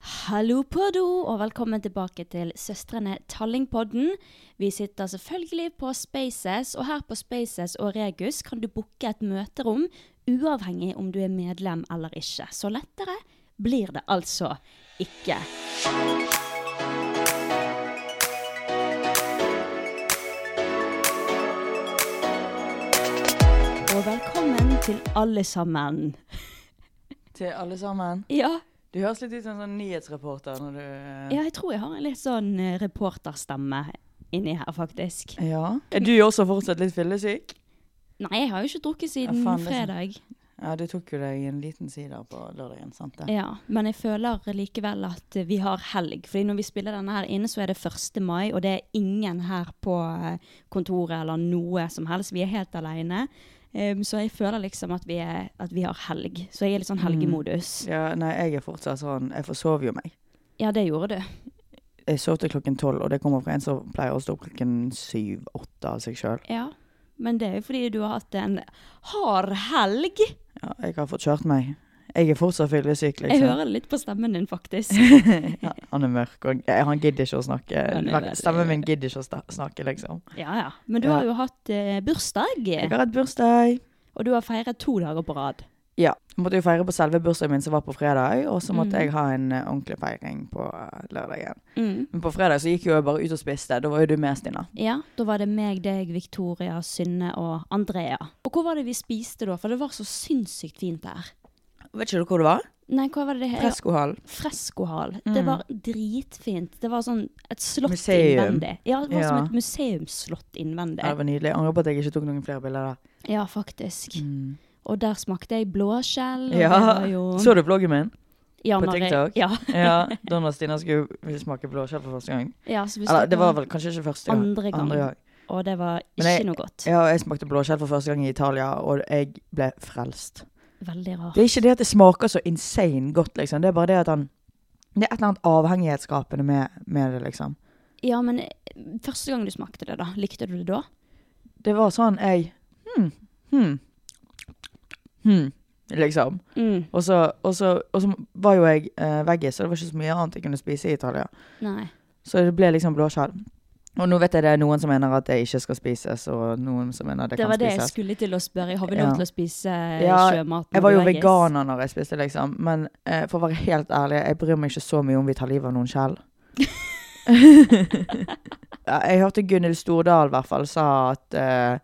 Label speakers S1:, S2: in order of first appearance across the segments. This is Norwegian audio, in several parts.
S1: Hallo på do, og velkommen tilbake til Søstrene Tallingpodden. Vi sitter selvfølgelig på Spaces, og her på Spaces og Regus kan du booke et møterom uavhengig om du er medlem eller ikke. Så lettere blir det altså ikke. Og velkommen til alle sammen.
S2: Til alle sammen.
S1: Ja,
S2: Du høres litt ut som en sånn nyhetsreporter når du eh,
S1: ja jeg tror jeg har en litt sånn eh, reporterstemme inni her, faktisk.
S2: ja. Er du også fortsatt litt fyllesyk?
S1: Nei, jeg har jo ikke drukket siden
S2: faen, det er sant.
S1: fredag.
S2: Ja, du tok jo deg en liten sider på lørdagen, sant det?
S1: Ja, men jeg føler likevel at vi har helg. Fordi når vi spiller denne her inne, så er det 1. mai, og det er ingen her på eh, kontoret eller noe som helst. Vi er helt alene. Um, så jeg føler liksom at vi, er, at vi har helg. Så jeg er litt sånn
S2: Mm.
S1: helgemodus.
S2: Ja, nei, jeg er fortsatt sånn Jeg forsov jo meg.
S1: Ja, det gjorde du.
S2: Jeg sov til klokken tolv, og det kommer fra en som pleier å stå opp klokken syv-åtte av seg sjøl.
S1: Ja. Men det er jo fordi du har hatt en hard helg.
S2: Ja, jeg har fått kjørt meg. Jeg er fortsatt fyllesyk,
S1: Jeg
S2: liksom.
S1: hører det litt på stemmen din, faktisk.
S2: Ja, han er mørk, og jeg- han gidder ikke å snakke.
S1: Han er veldig-
S2: Stemmen min gidder ikke å sta- snakke, liksom.
S1: Ja, ja. Men du har jo hatt eh, bursdag,
S2: Jeg har hatt bursdag.
S1: og du har feiret to dager på rad.
S2: Ja. Jeg måtte jo feire på selve bursdagen min som var på fredag, og så måtte jeg ha en eh, ordentlig feiring på eh, lørdagen.
S1: Mm.
S2: Men på fredag så gikk jo jeg bare ut og spiste. Da var jo du med, Stina.
S1: Ja, da var det meg, deg, Victoria, Synne og Andrea. Og hvor var det vi spiste da? For det var så sinnssykt fint der.
S2: Vet ikke du hvor det var?
S1: Nei, hva var det det het?
S2: Freskohallen.
S1: Freskohall. Det var dritfint. Det var sånn et slott
S2: Museum.
S1: innvendig. Ja, det var
S2: Ja.
S1: som et museumsslott innvendig.
S2: Ja, det var nydelig. Jeg angrer på at jeg ikke tok noen flere bilder der.
S1: Ja, faktisk. Og der smakte jeg blåskjell. og
S2: Mm. Ja.
S1: det var jo-
S2: Så du vloggen min?
S1: Ja,
S2: på
S1: når jeg-
S2: TikTok?
S1: Ja.
S2: Ja. Da når Stina skulle smake blåskjell for første gang.
S1: ja så vi
S2: Eller
S1: smakte
S2: det var vel kanskje ikke første gang.
S1: andre gang. Og det var
S2: Men
S1: ikke
S2: jeg-
S1: noe godt.
S2: Ja, jeg smakte blåskjell for første gang i Italia, og jeg ble frelst.
S1: Veldig rart.
S2: Det er ikke det at det smaker så insane godt, liksom. Det er bare det at han Det er et eller annet avhengighetsskapende med, med det, liksom.
S1: Ja, men eh, første gang du smakte det, da, likte du det da?
S2: Det var sånn jeg hmm, hmm, hmm, liksom.
S1: Mm.
S2: Og så, og så, og så var jo jeg eh, veggis, så det var ikke så mye annet jeg kunne spise i Italia.
S1: Nei.
S2: Så det ble liksom blåskjell. Og nå vet jeg det er noen som mener at det ikke skal spises, og noen som mener at det,
S1: Det
S2: kan
S1: var det jeg
S2: spises.
S1: skulle til å spørre. Har vi
S2: Ja.
S1: lov til å spise eh, ja,
S2: Ja,
S1: sjømat? når
S2: Jeg var
S1: du
S2: jo
S1: er giss?
S2: veganer når jeg spiste, liksom. Men eh, for å være helt ærlig, jeg bryr meg ikke så mye om vi tar livet av noen selv. Ja, jeg hørte Gunhild Stordal i hvert fall sa at eh,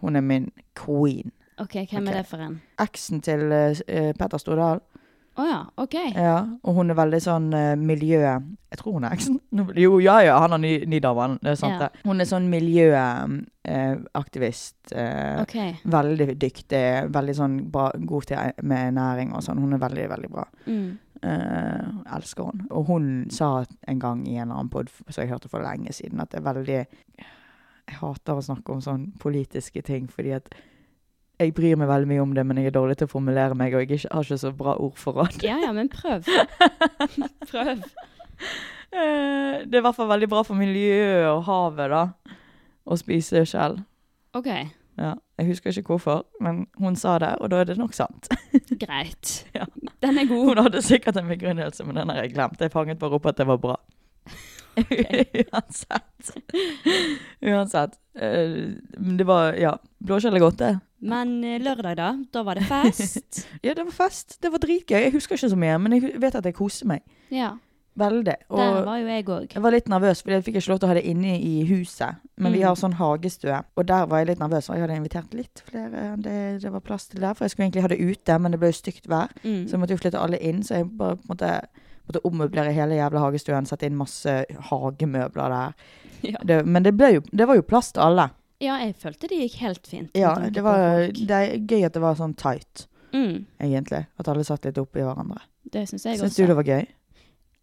S2: hun er min queen.
S1: Ok, Hvem
S2: Ok.
S1: er det for en?
S2: Eksen til eh, eh, Petter Stordal.
S1: Å ja, OK.
S2: Ja, og hun er veldig sånn eh, miljø... Jeg tror hun er eksen. Nå blir- Jo, ja, ja, han har ny, Nidarvann, det er sant
S1: Ja.
S2: det. Hun er sånn miljøaktivist. Eh,
S1: ok.
S2: Veldig dyktig, veldig sånn bra, god til med næring og sånn. Hun er veldig, veldig bra.
S1: Mm.
S2: Eh, elsker hun. Og hun sa en gang i en eller annen pod som jeg hørte for lenge siden, at det er veldig Jeg hater å snakke om sånn politiske ting, fordi at jeg bryr meg veldig mye om det, men jeg er dårlig til å formulere meg, og jeg er ikke, har ikke så bra ordforråd.
S1: Ja ja, men prøv. prøv.
S2: Eh, det er i hvert fall veldig bra for miljøet og havet, da, å spise skjell.
S1: OK,
S2: Ja. Jeg husker ikke hvorfor, men hun sa det, og da er det nok sant.
S1: greit.
S2: Ja.
S1: Den er god.
S2: Hun hadde sikkert en begrunnelse, men den har jeg glemt. Jeg fanget bare opp at det var bra. Uansett. Uansett. Eh, men det var Ja. Blåskjell er godt, det.
S1: Men eh, lørdag, da? Da var det fest.
S2: Ja, det var fest. Det var dritgøy. Jeg husker ikke så mye, men jeg hu- vet at jeg koste meg.
S1: Ja.
S2: Veldig.
S1: Der
S2: Og
S1: var jo jeg òg.
S2: jeg var litt nervøs, fordi jeg fikk ikke lov til å ha det inne i huset. Men vi
S1: Mm.
S2: har sånn hagestue, og der var jeg litt nervøs. Og jeg hadde invitert litt flere enn det det var plass til der, for jeg skulle egentlig ha det ute, men det ble jo stygt vær.
S1: Mm.
S2: Så jeg måtte jo flytte alle inn, så jeg bare på en måte måtte ommøblere hele jævla hagestuen, sette inn masse hagemøbler der.
S1: Ja.
S2: Det, men det, ble jo, det var jo plass til alle.
S1: ja, jeg følte det gikk helt fint. med
S2: Ja,
S1: tanke
S2: det
S1: på
S2: var
S1: folk.
S2: det er gøy at det var sånn tight,
S1: mm,
S2: egentlig. At alle satt litt oppi hverandre.
S1: Det syns jeg
S2: Syns
S1: også.
S2: du det var gøy?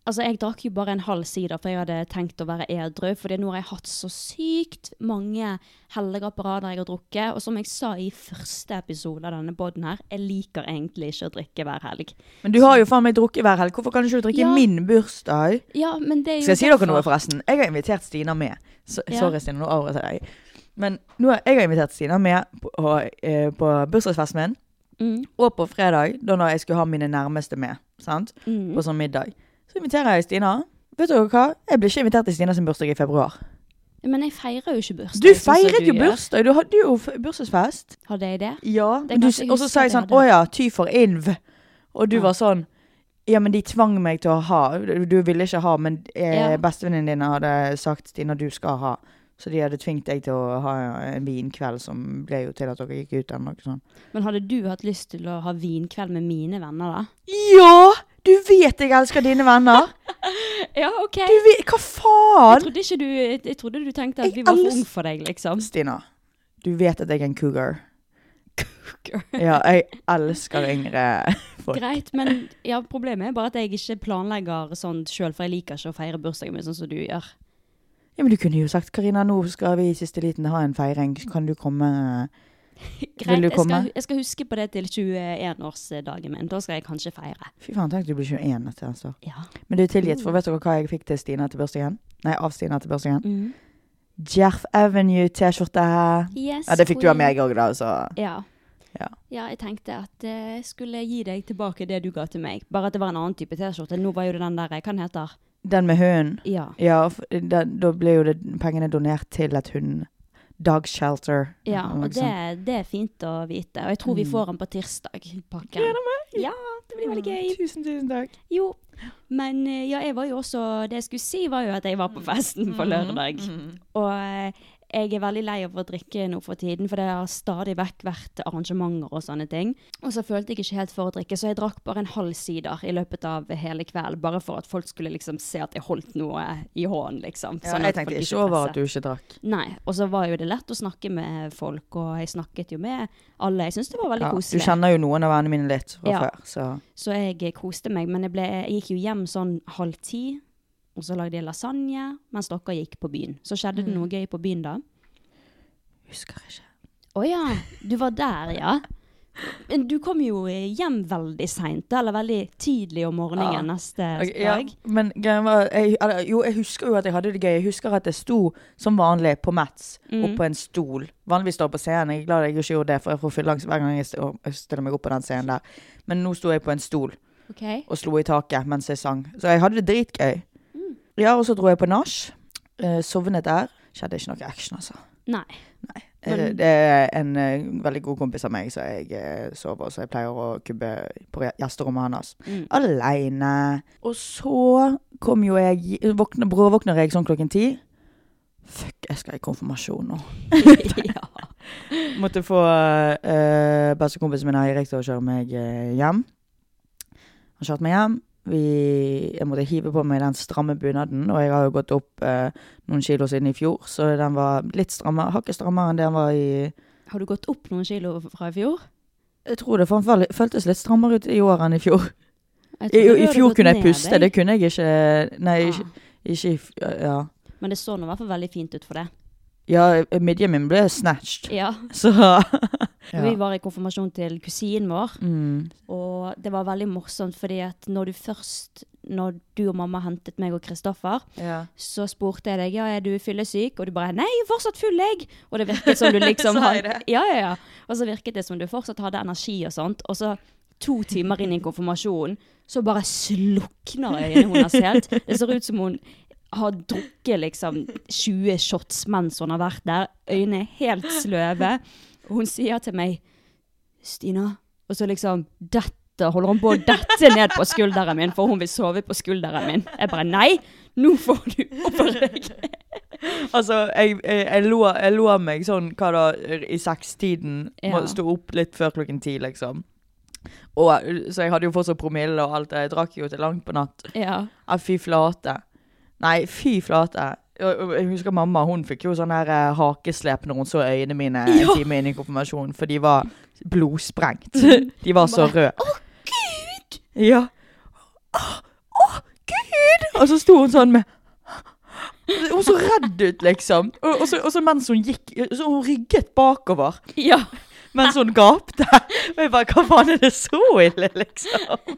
S1: Altså, jeg drakk jo bare en halv sider, for jeg hadde tenkt å være edru. For nå har jeg hatt så sykt mange helger på rad der jeg har drukket. Og som jeg sa i første episode av denne podden her, jeg liker egentlig ikke å drikke hver helg.
S2: Men du har jo faen meg drukket hver helg. Hvorfor kan ikke du drikke
S1: Ja.
S2: min bursdag?
S1: Ja, men det er jo
S2: Skal jeg si dere noe,
S1: derfor-
S2: forresten? Jeg har invitert Stina med. Så,
S1: Ja.
S2: Sorry, Stina, nå avbrøt jeg deg. Men nå, har- jeg har invitert Stina med på, eh, på bursdagsfesten min,
S1: Mm,
S2: og på fredag, da når jeg skulle ha mine nærmeste med. sant?
S1: mm.
S2: på sånn middag. Så inviterer jeg Stina. Vet dere hva? Jeg ble ikke invitert til Stina sin bursdag i februar.
S1: Men jeg feirer jo ikke bursdag.
S2: Du
S1: sånn som
S2: feiret jo
S1: gjør.
S2: bursdag! Du hadde jo f- bursdagsfest.
S1: Hadde jeg det?
S2: Ja.
S1: Det kan
S2: Du,
S1: jeg ikke
S2: og så
S1: huske
S2: sa jeg
S1: at jeg
S2: sånn
S1: hadde.
S2: Å ja, ty for inv. Og du
S1: Ja.
S2: var sånn Ja, men de tvang meg til å ha. Du du ville ikke ha, men eh,
S1: Ja.
S2: bestevenninnen din hadde sagt Stina, du skal ha. Så de hadde tvingt deg til å ha en vinkveld som ble jo til at dere gikk ut eller noe sånt.
S1: Men hadde du hatt lyst til å ha vinkveld med mine venner, da?
S2: Ja! Du vet jeg elsker dine venner!
S1: Ja, OK.
S2: Du vet, hhva
S1: Jeg
S2: faen?
S1: trodde, ikke du, jeg, jeg trodde du tenkte at
S2: Jeg
S1: vi var for
S2: elsk-
S1: ung for deg, liksom.
S2: Stina, du vet at jeg er en cougar. Ja, jeg elsker yngre folk.
S1: Greit, men ja, problemet er bare at jeg ikke planlegger sånn sjøl, for jeg liker ikke å feire bursdagen min sånn som du gjør.
S2: Ja, men du kunne jo sagt Karina, nå skal vi i siste liten ha en feiring. Kan du komme
S1: Greit,
S2: du
S1: jeg
S2: komme?
S1: skal, jeg skal huske på det til 21-årsdagen min. Da skal jeg kanskje feire.
S2: Fy faen, tenk du blir 21 etter neste Mm. år.
S1: Ja.
S2: Men du er tilgitt, for vet dere hva jeg fikk til Stina til bursdagen? Nei, av Stina til bursdagen?
S1: Mm.
S2: Jerf Avenue-T-skjorte.
S1: Yes,
S2: Ja, det fikk du av
S1: queen.
S2: meg òg, da, altså. så
S1: Ja.
S2: Ja.
S1: ja, jeg tenkte at eh, jeg skulle gi deg tilbake det du ga til meg. Bare at det var en annen type T-skjorte. Nå var jo det den der Hva den heter
S2: Den med hunden.
S1: Ja.
S2: Ja, f- den, da ble jo det, pengene donert til et hund... Dog shelter.
S1: ja
S2: eller noe
S1: og det,
S2: sånt.
S1: det er fint å vite. Og jeg tror vi får den på tirsdag, pakken.
S2: Mm. Gleder meg!
S1: Ja, det blir veldig gøy.
S2: Tusen, tusen takk.
S1: Jo, men eh, ja, jeg var jo også Det jeg skulle si, var jo at jeg var
S2: Mm.
S1: på festen
S2: Mm-hmm.
S1: på lørdag. Og eh, jeg er veldig lei av å drikke nå for tiden, for det har stadig vekk vært arrangementer og sånne ting. Og så følte jeg ikke helt for å drikke, så jeg drakk bare en halv sider i løpet av hele kvelden. Bare for at folk skulle liksom se at jeg holdt noe i hånden, liksom.
S2: Ja,
S1: sånn at
S2: jeg
S1: folk
S2: tenkte ikke over
S1: presset.
S2: at du ikke drakk.
S1: Nei, og så var jo det lett å snakke med folk, og jeg snakket jo med alle. Jeg syns det var veldig
S2: Ja,
S1: koselig.
S2: Du kjenner jo noen av vennene mine litt fra
S1: Ja.
S2: før, så
S1: Så jeg eh, koste meg, men jeg, ble, jeg gikk jo hjem sånn halv ti, og så lagde jeg lasagne, mens dere gikk på byen. Så skjedde det noe gøy på byen da.
S2: Husker ikke.
S1: Å ja, du var der, ja. Men du kom jo eh, hjem veldig seint, eller veldig tidlig om morgenen
S2: Ja.
S1: neste
S2: ja,
S1: dag.
S2: men greien var jeg, eller, Jo, jeg husker jo at jeg hadde det gøy. Jeg husker at jeg sto som vanlig på Mats,
S1: Mm.
S2: oppå en stol. Vanligvis står jeg på scenen. Jeg er glad jeg ikke gjorde det, for jeg får fylleangst hver gang jeg st- jeg stiller meg opp på den scenen der. Men nå sto jeg på en stol
S1: Ok. Mm.
S2: og slo i taket mens jeg sang. Så jeg hadde det dritgøy. Ja, og så dro jeg på nach. eh, sovnet der. Skjedde ikke noe action, altså.
S1: Nei.
S2: Eh,
S1: Men-
S2: Det er en eh, veldig god kompis av meg som jeg eh, sover hos, så jeg pleier å kubbe på gje- gjesterommet hans.
S1: Mm.
S2: Aleine. Og så kom jo jeg våkne, Bråvåkner jeg sånn klokken ti. Fuck, jeg skal i konfirmasjon nå.
S1: ja.
S2: Måtte få eh, bestekompisen min Eirik til å kjøre meg eh, hjem. Han kjørte meg hjem. Vi, jeg måtte hive på meg den stramme bunaden, og jeg har jo gått opp eh, noen kilo siden i fjor, så den var litt strammere, hakket strammere enn det den var i
S1: Har du gått opp noen kilo fra i fjor?
S2: Jeg tror det faen føl- føltes litt strammere ut i år enn i fjor.
S1: Jeg
S2: I,
S1: trodde du
S2: i
S1: hadde
S2: fjor
S1: gått
S2: kunne jeg
S1: ned,
S2: puste,
S1: jeg.
S2: det kunne jeg ikke Nei, ikke,
S1: Ah,
S2: ikke i f- Ja.
S1: Men det så nå i hvert fall veldig fint ut for det.
S2: Ja, midjen min ble snatched,
S1: Ja.
S2: så
S1: Og Vi var i konfirmasjon til kusinen vår,
S2: Mm.
S1: og det var veldig morsomt fordi at når du først Når du og mamma hentet meg og Kristoffer,
S2: Ja.
S1: så spurte jeg deg ja, er du fyllesyk, og du bare 'nei, jeg er fortsatt full, jeg'. Og det virket som du liksom
S2: Sa jeg det?
S1: Ja, ja, ja. Og så virket det som du fortsatt hadde energi og sånt. Og så to timer inn i en konfirmasjon, så bare slukner øynene hennes helt. Det ser ut som hun har drukket liksom 20 shots mens hun har vært der. Øynene er helt sløve. Og hun sier til meg 'Stina', og så liksom dette Holder hun på å dette ned på skulderen min, for hun vil sove på skulderen min. Jeg bare nei, nå får du operere deg.
S2: Altså, jeg, jeg, jeg, lå, jeg lå meg sånn hva da, i sekstiden.
S1: Ja.
S2: Ja. Sto opp litt før klokken ti, liksom. Og, så jeg hadde jo fortsatt promille og alt det. Jeg drakk jo til langt på natt.
S1: Ja.
S2: Ja, fy flate. Nei, fy flate. Og- og Jeg husker mamma hun fikk jo sånn her eh, hakeslep når hun så øynene mine en
S1: Ja.
S2: time inn i konfirmasjonen, for de var blodsprengt. De var så røde. Å, gud! Ja. Å, å, gud! Og så sto hun sånn med Hun så redd ut, liksom. Og, og, så, og så mens hun gikk Så hun rygget bakover
S1: Ja.
S2: mens hun gapte. Og jeg bare Hva faen er det så ille, liksom?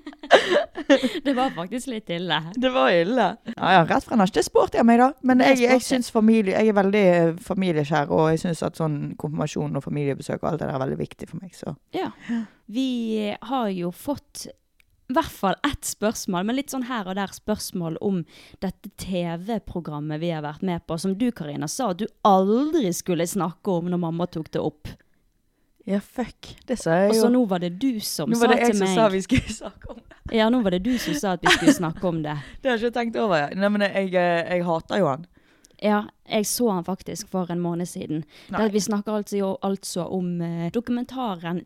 S1: Det var faktisk litt ille.
S2: Det var ille. Ja, ja, rett fra nach. Det spurte jeg meg, da. Men
S1: Det
S2: jeg, jeg
S1: spurte jeg.
S2: synes familie Jeg er veldig eh, familieskjær, og jeg syns at sånn konfirmasjon og familiebesøk og alt det der er veldig viktig for meg, så
S1: Ja. Vi har jo fått i hvert fall ett spørsmål, men litt sånn her og der spørsmål om dette TV-programmet vi har vært med på, som du, Karina, sa at du aldri skulle snakke om når mamma tok det opp.
S2: Ja, fuck. Det sa jeg
S1: Og
S2: jo.
S1: så nå var det du som
S2: Nå
S1: sa
S2: var det
S1: til
S2: jeg som
S1: meg
S2: sa vi skulle snakke om det.
S1: Ja, nå var det du som sa at vi skulle snakke om det.
S2: Det har jeg ikke tenkt over, jeg. Nei, men jeg, eh, jeg hater jo han.
S1: Ja, jeg så han faktisk for en måned siden.
S2: Nei.
S1: Der vi snakker altså, jo- altså om eh, dokumentaren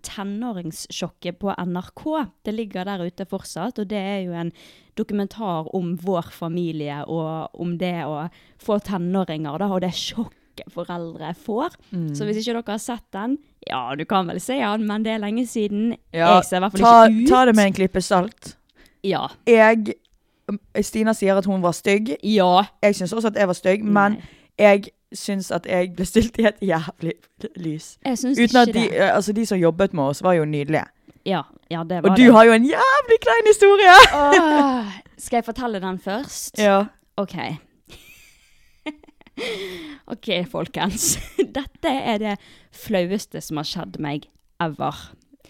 S1: 'Tenåringssjokket' på NRK. Det ligger der ute fortsatt, og det er jo en dokumentar om vår familie og om det å få tenåringer, da, og det sjokket foreldre får.
S2: Mm.
S1: Så hvis ikke dere har sett den, ja, du kan vel se den, men det er lenge siden. jeg ser i hvert fall
S2: ta,
S1: ikke ut.
S2: ta det med en klype salt.
S1: Ja.
S2: Jeg mm, Stina sier at hun var stygg.
S1: Ja.
S2: Jeg syns også at jeg var stygg, men
S1: Nei.
S2: jeg syns at jeg ble stilt i et jævlig lys.
S1: Jeg syns
S2: Uten
S1: ikke
S2: at de,
S1: det.
S2: eh, altså de som jobbet med oss, var jo nydelige.
S1: Ja, ja, det var
S2: Og du
S1: det.
S2: har jo en jævlig klein historie!
S1: Åh, skal jeg fortelle den først?
S2: Ja.
S1: Ok. ok, folkens. Dette er det flaueste som har skjedd meg ever.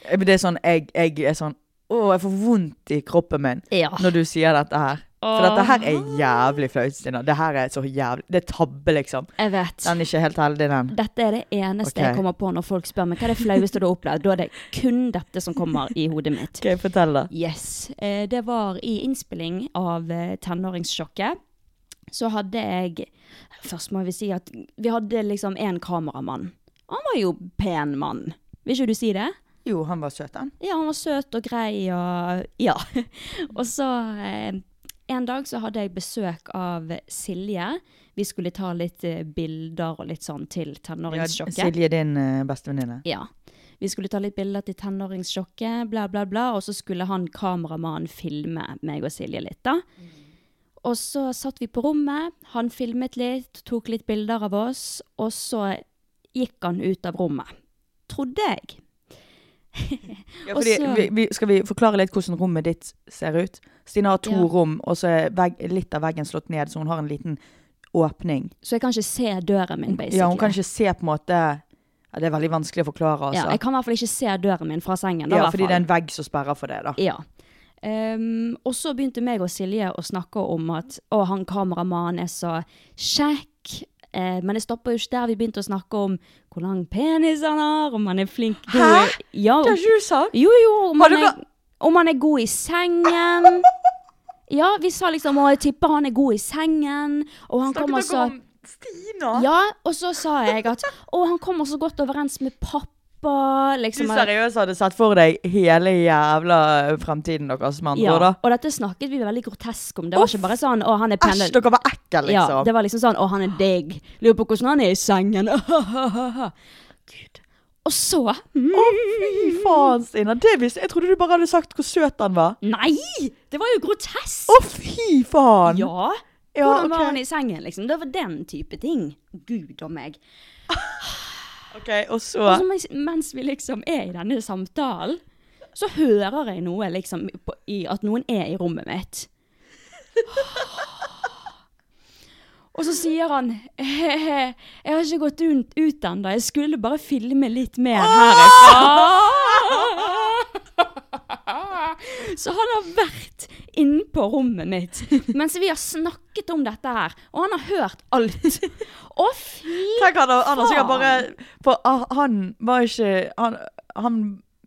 S2: Men Det er sånn, jeg, jeg er sånn Å, jeg får vondt i kroppen min
S1: Ja.
S2: når du sier dette her. For dette her er jævlig flaut, Stina. Det her er så jævlig Det er tabbe, liksom.
S1: Jeg vet.
S2: Den er ikke helt heldig, den.
S1: Dette er det eneste
S2: Ok.
S1: jeg kommer på når folk spør meg hva er det flaueste du har opplevd. Da er det kun dette som kommer i hodet mitt.
S2: Skal jeg fortelle det?
S1: Yes. Eh, det var i innspilling av eh, Tenåringssjokket. Så hadde jeg Først må vi si at vi hadde liksom én kameramann. Han var jo pen mann. Vil ikke du si det?
S2: Jo, han var søt, han.
S1: Ja, han var søt og grei og Ja. Og så eh, en dag så hadde jeg besøk av Silje. Vi skulle ta litt eh, bilder og litt sånn til tenåringssjokket.
S2: Silje, din eh, bestevenninne.
S1: Ja. Vi skulle ta litt bilder til tenåringssjokket, bla, bla, bla. Og så skulle han kameramannen filme meg og Silje litt, da.
S2: Mm.
S1: Og så satt vi på rommet, han filmet litt, tok litt bilder av oss, og så gikk han ut av rommet. Trodde jeg.
S2: Ja,
S1: Og
S2: fordi,
S1: så-
S2: vi, vi, skal vi forklare litt hvordan rommet ditt ser ut? Stina har to
S1: Ja.
S2: rom, og så er vegg, litt av veggen slått ned, så hun har en liten åpning.
S1: Så jeg kan ikke se døren min, basically.
S2: Ja, hun kan ikke se på en måte ja, Det er veldig vanskelig å forklare,
S1: Ja,
S2: altså.
S1: jeg kan i hvert fall ikke se døren min fra sengen. Da,
S2: Ja,
S1: i hvert
S2: fordi det er
S1: fall.
S2: en vegg som sperrer for det, da.
S1: Ja. Ehm, og så begynte meg og Silje å snakke om at å, han kameramannen er så kjekk, nok. Eh, men det stopper jo ikke der. Vi begynte å snakke om hvor lang penis han har, om han er flink god i- Ja,
S2: Det har ikke du sagt!
S1: jo, jo, om
S2: Har
S1: han,
S2: dere-
S1: er, om han er god i sengen. Ja, vi sa liksom å, jeg tipper han er god i sengen. Og han kommer
S2: Snakket dere
S1: så
S2: om Stina?
S1: Ja, og så sa jeg at å, han kommer så godt overens med pappa.
S2: Du
S1: Liksom, at-
S2: seriøst hadde sett for deg hele jævla eh, fremtiden deres, med andre
S1: ja.
S2: ord, da?
S1: Og dette snakket vi veldig grotesk om. Det var
S2: Uff.
S1: ikke bare sånn å, han er
S2: Æsj,
S1: pendel.
S2: dere var ekle, liksom.
S1: Ja, det var liksom sånn å, han er digg. Lurer på hvordan han er i sengen. Gud. Og så mm,
S2: Fy faen, Stina. Det visste jeg. trodde du bare hadde sagt hvor søt han var.
S1: Nei! Det var jo grotesk!
S2: Å, fy faen!
S1: Ja.
S2: Ja,
S1: Hvordan
S2: ok.
S1: var han i sengen, liksom? Det var den type ting. Gud og meg.
S2: OK, og
S1: Og så
S2: så
S1: Altså, mens, mens vi liksom er i denne samtalen, så hører jeg noe liksom på, i at noen er i rommet mitt. Og så sier han «Hehe, Jeg har ikke gått ut, ut ennå. Jeg skulle bare filme litt mer herifra. Så han har vært inne på rommet mitt mens vi har snakket om dette her. Og han har hørt alt. Å, fy
S2: Tenk, han, han har sikkert
S1: faen.
S2: bare For ah, han var ikke Han, han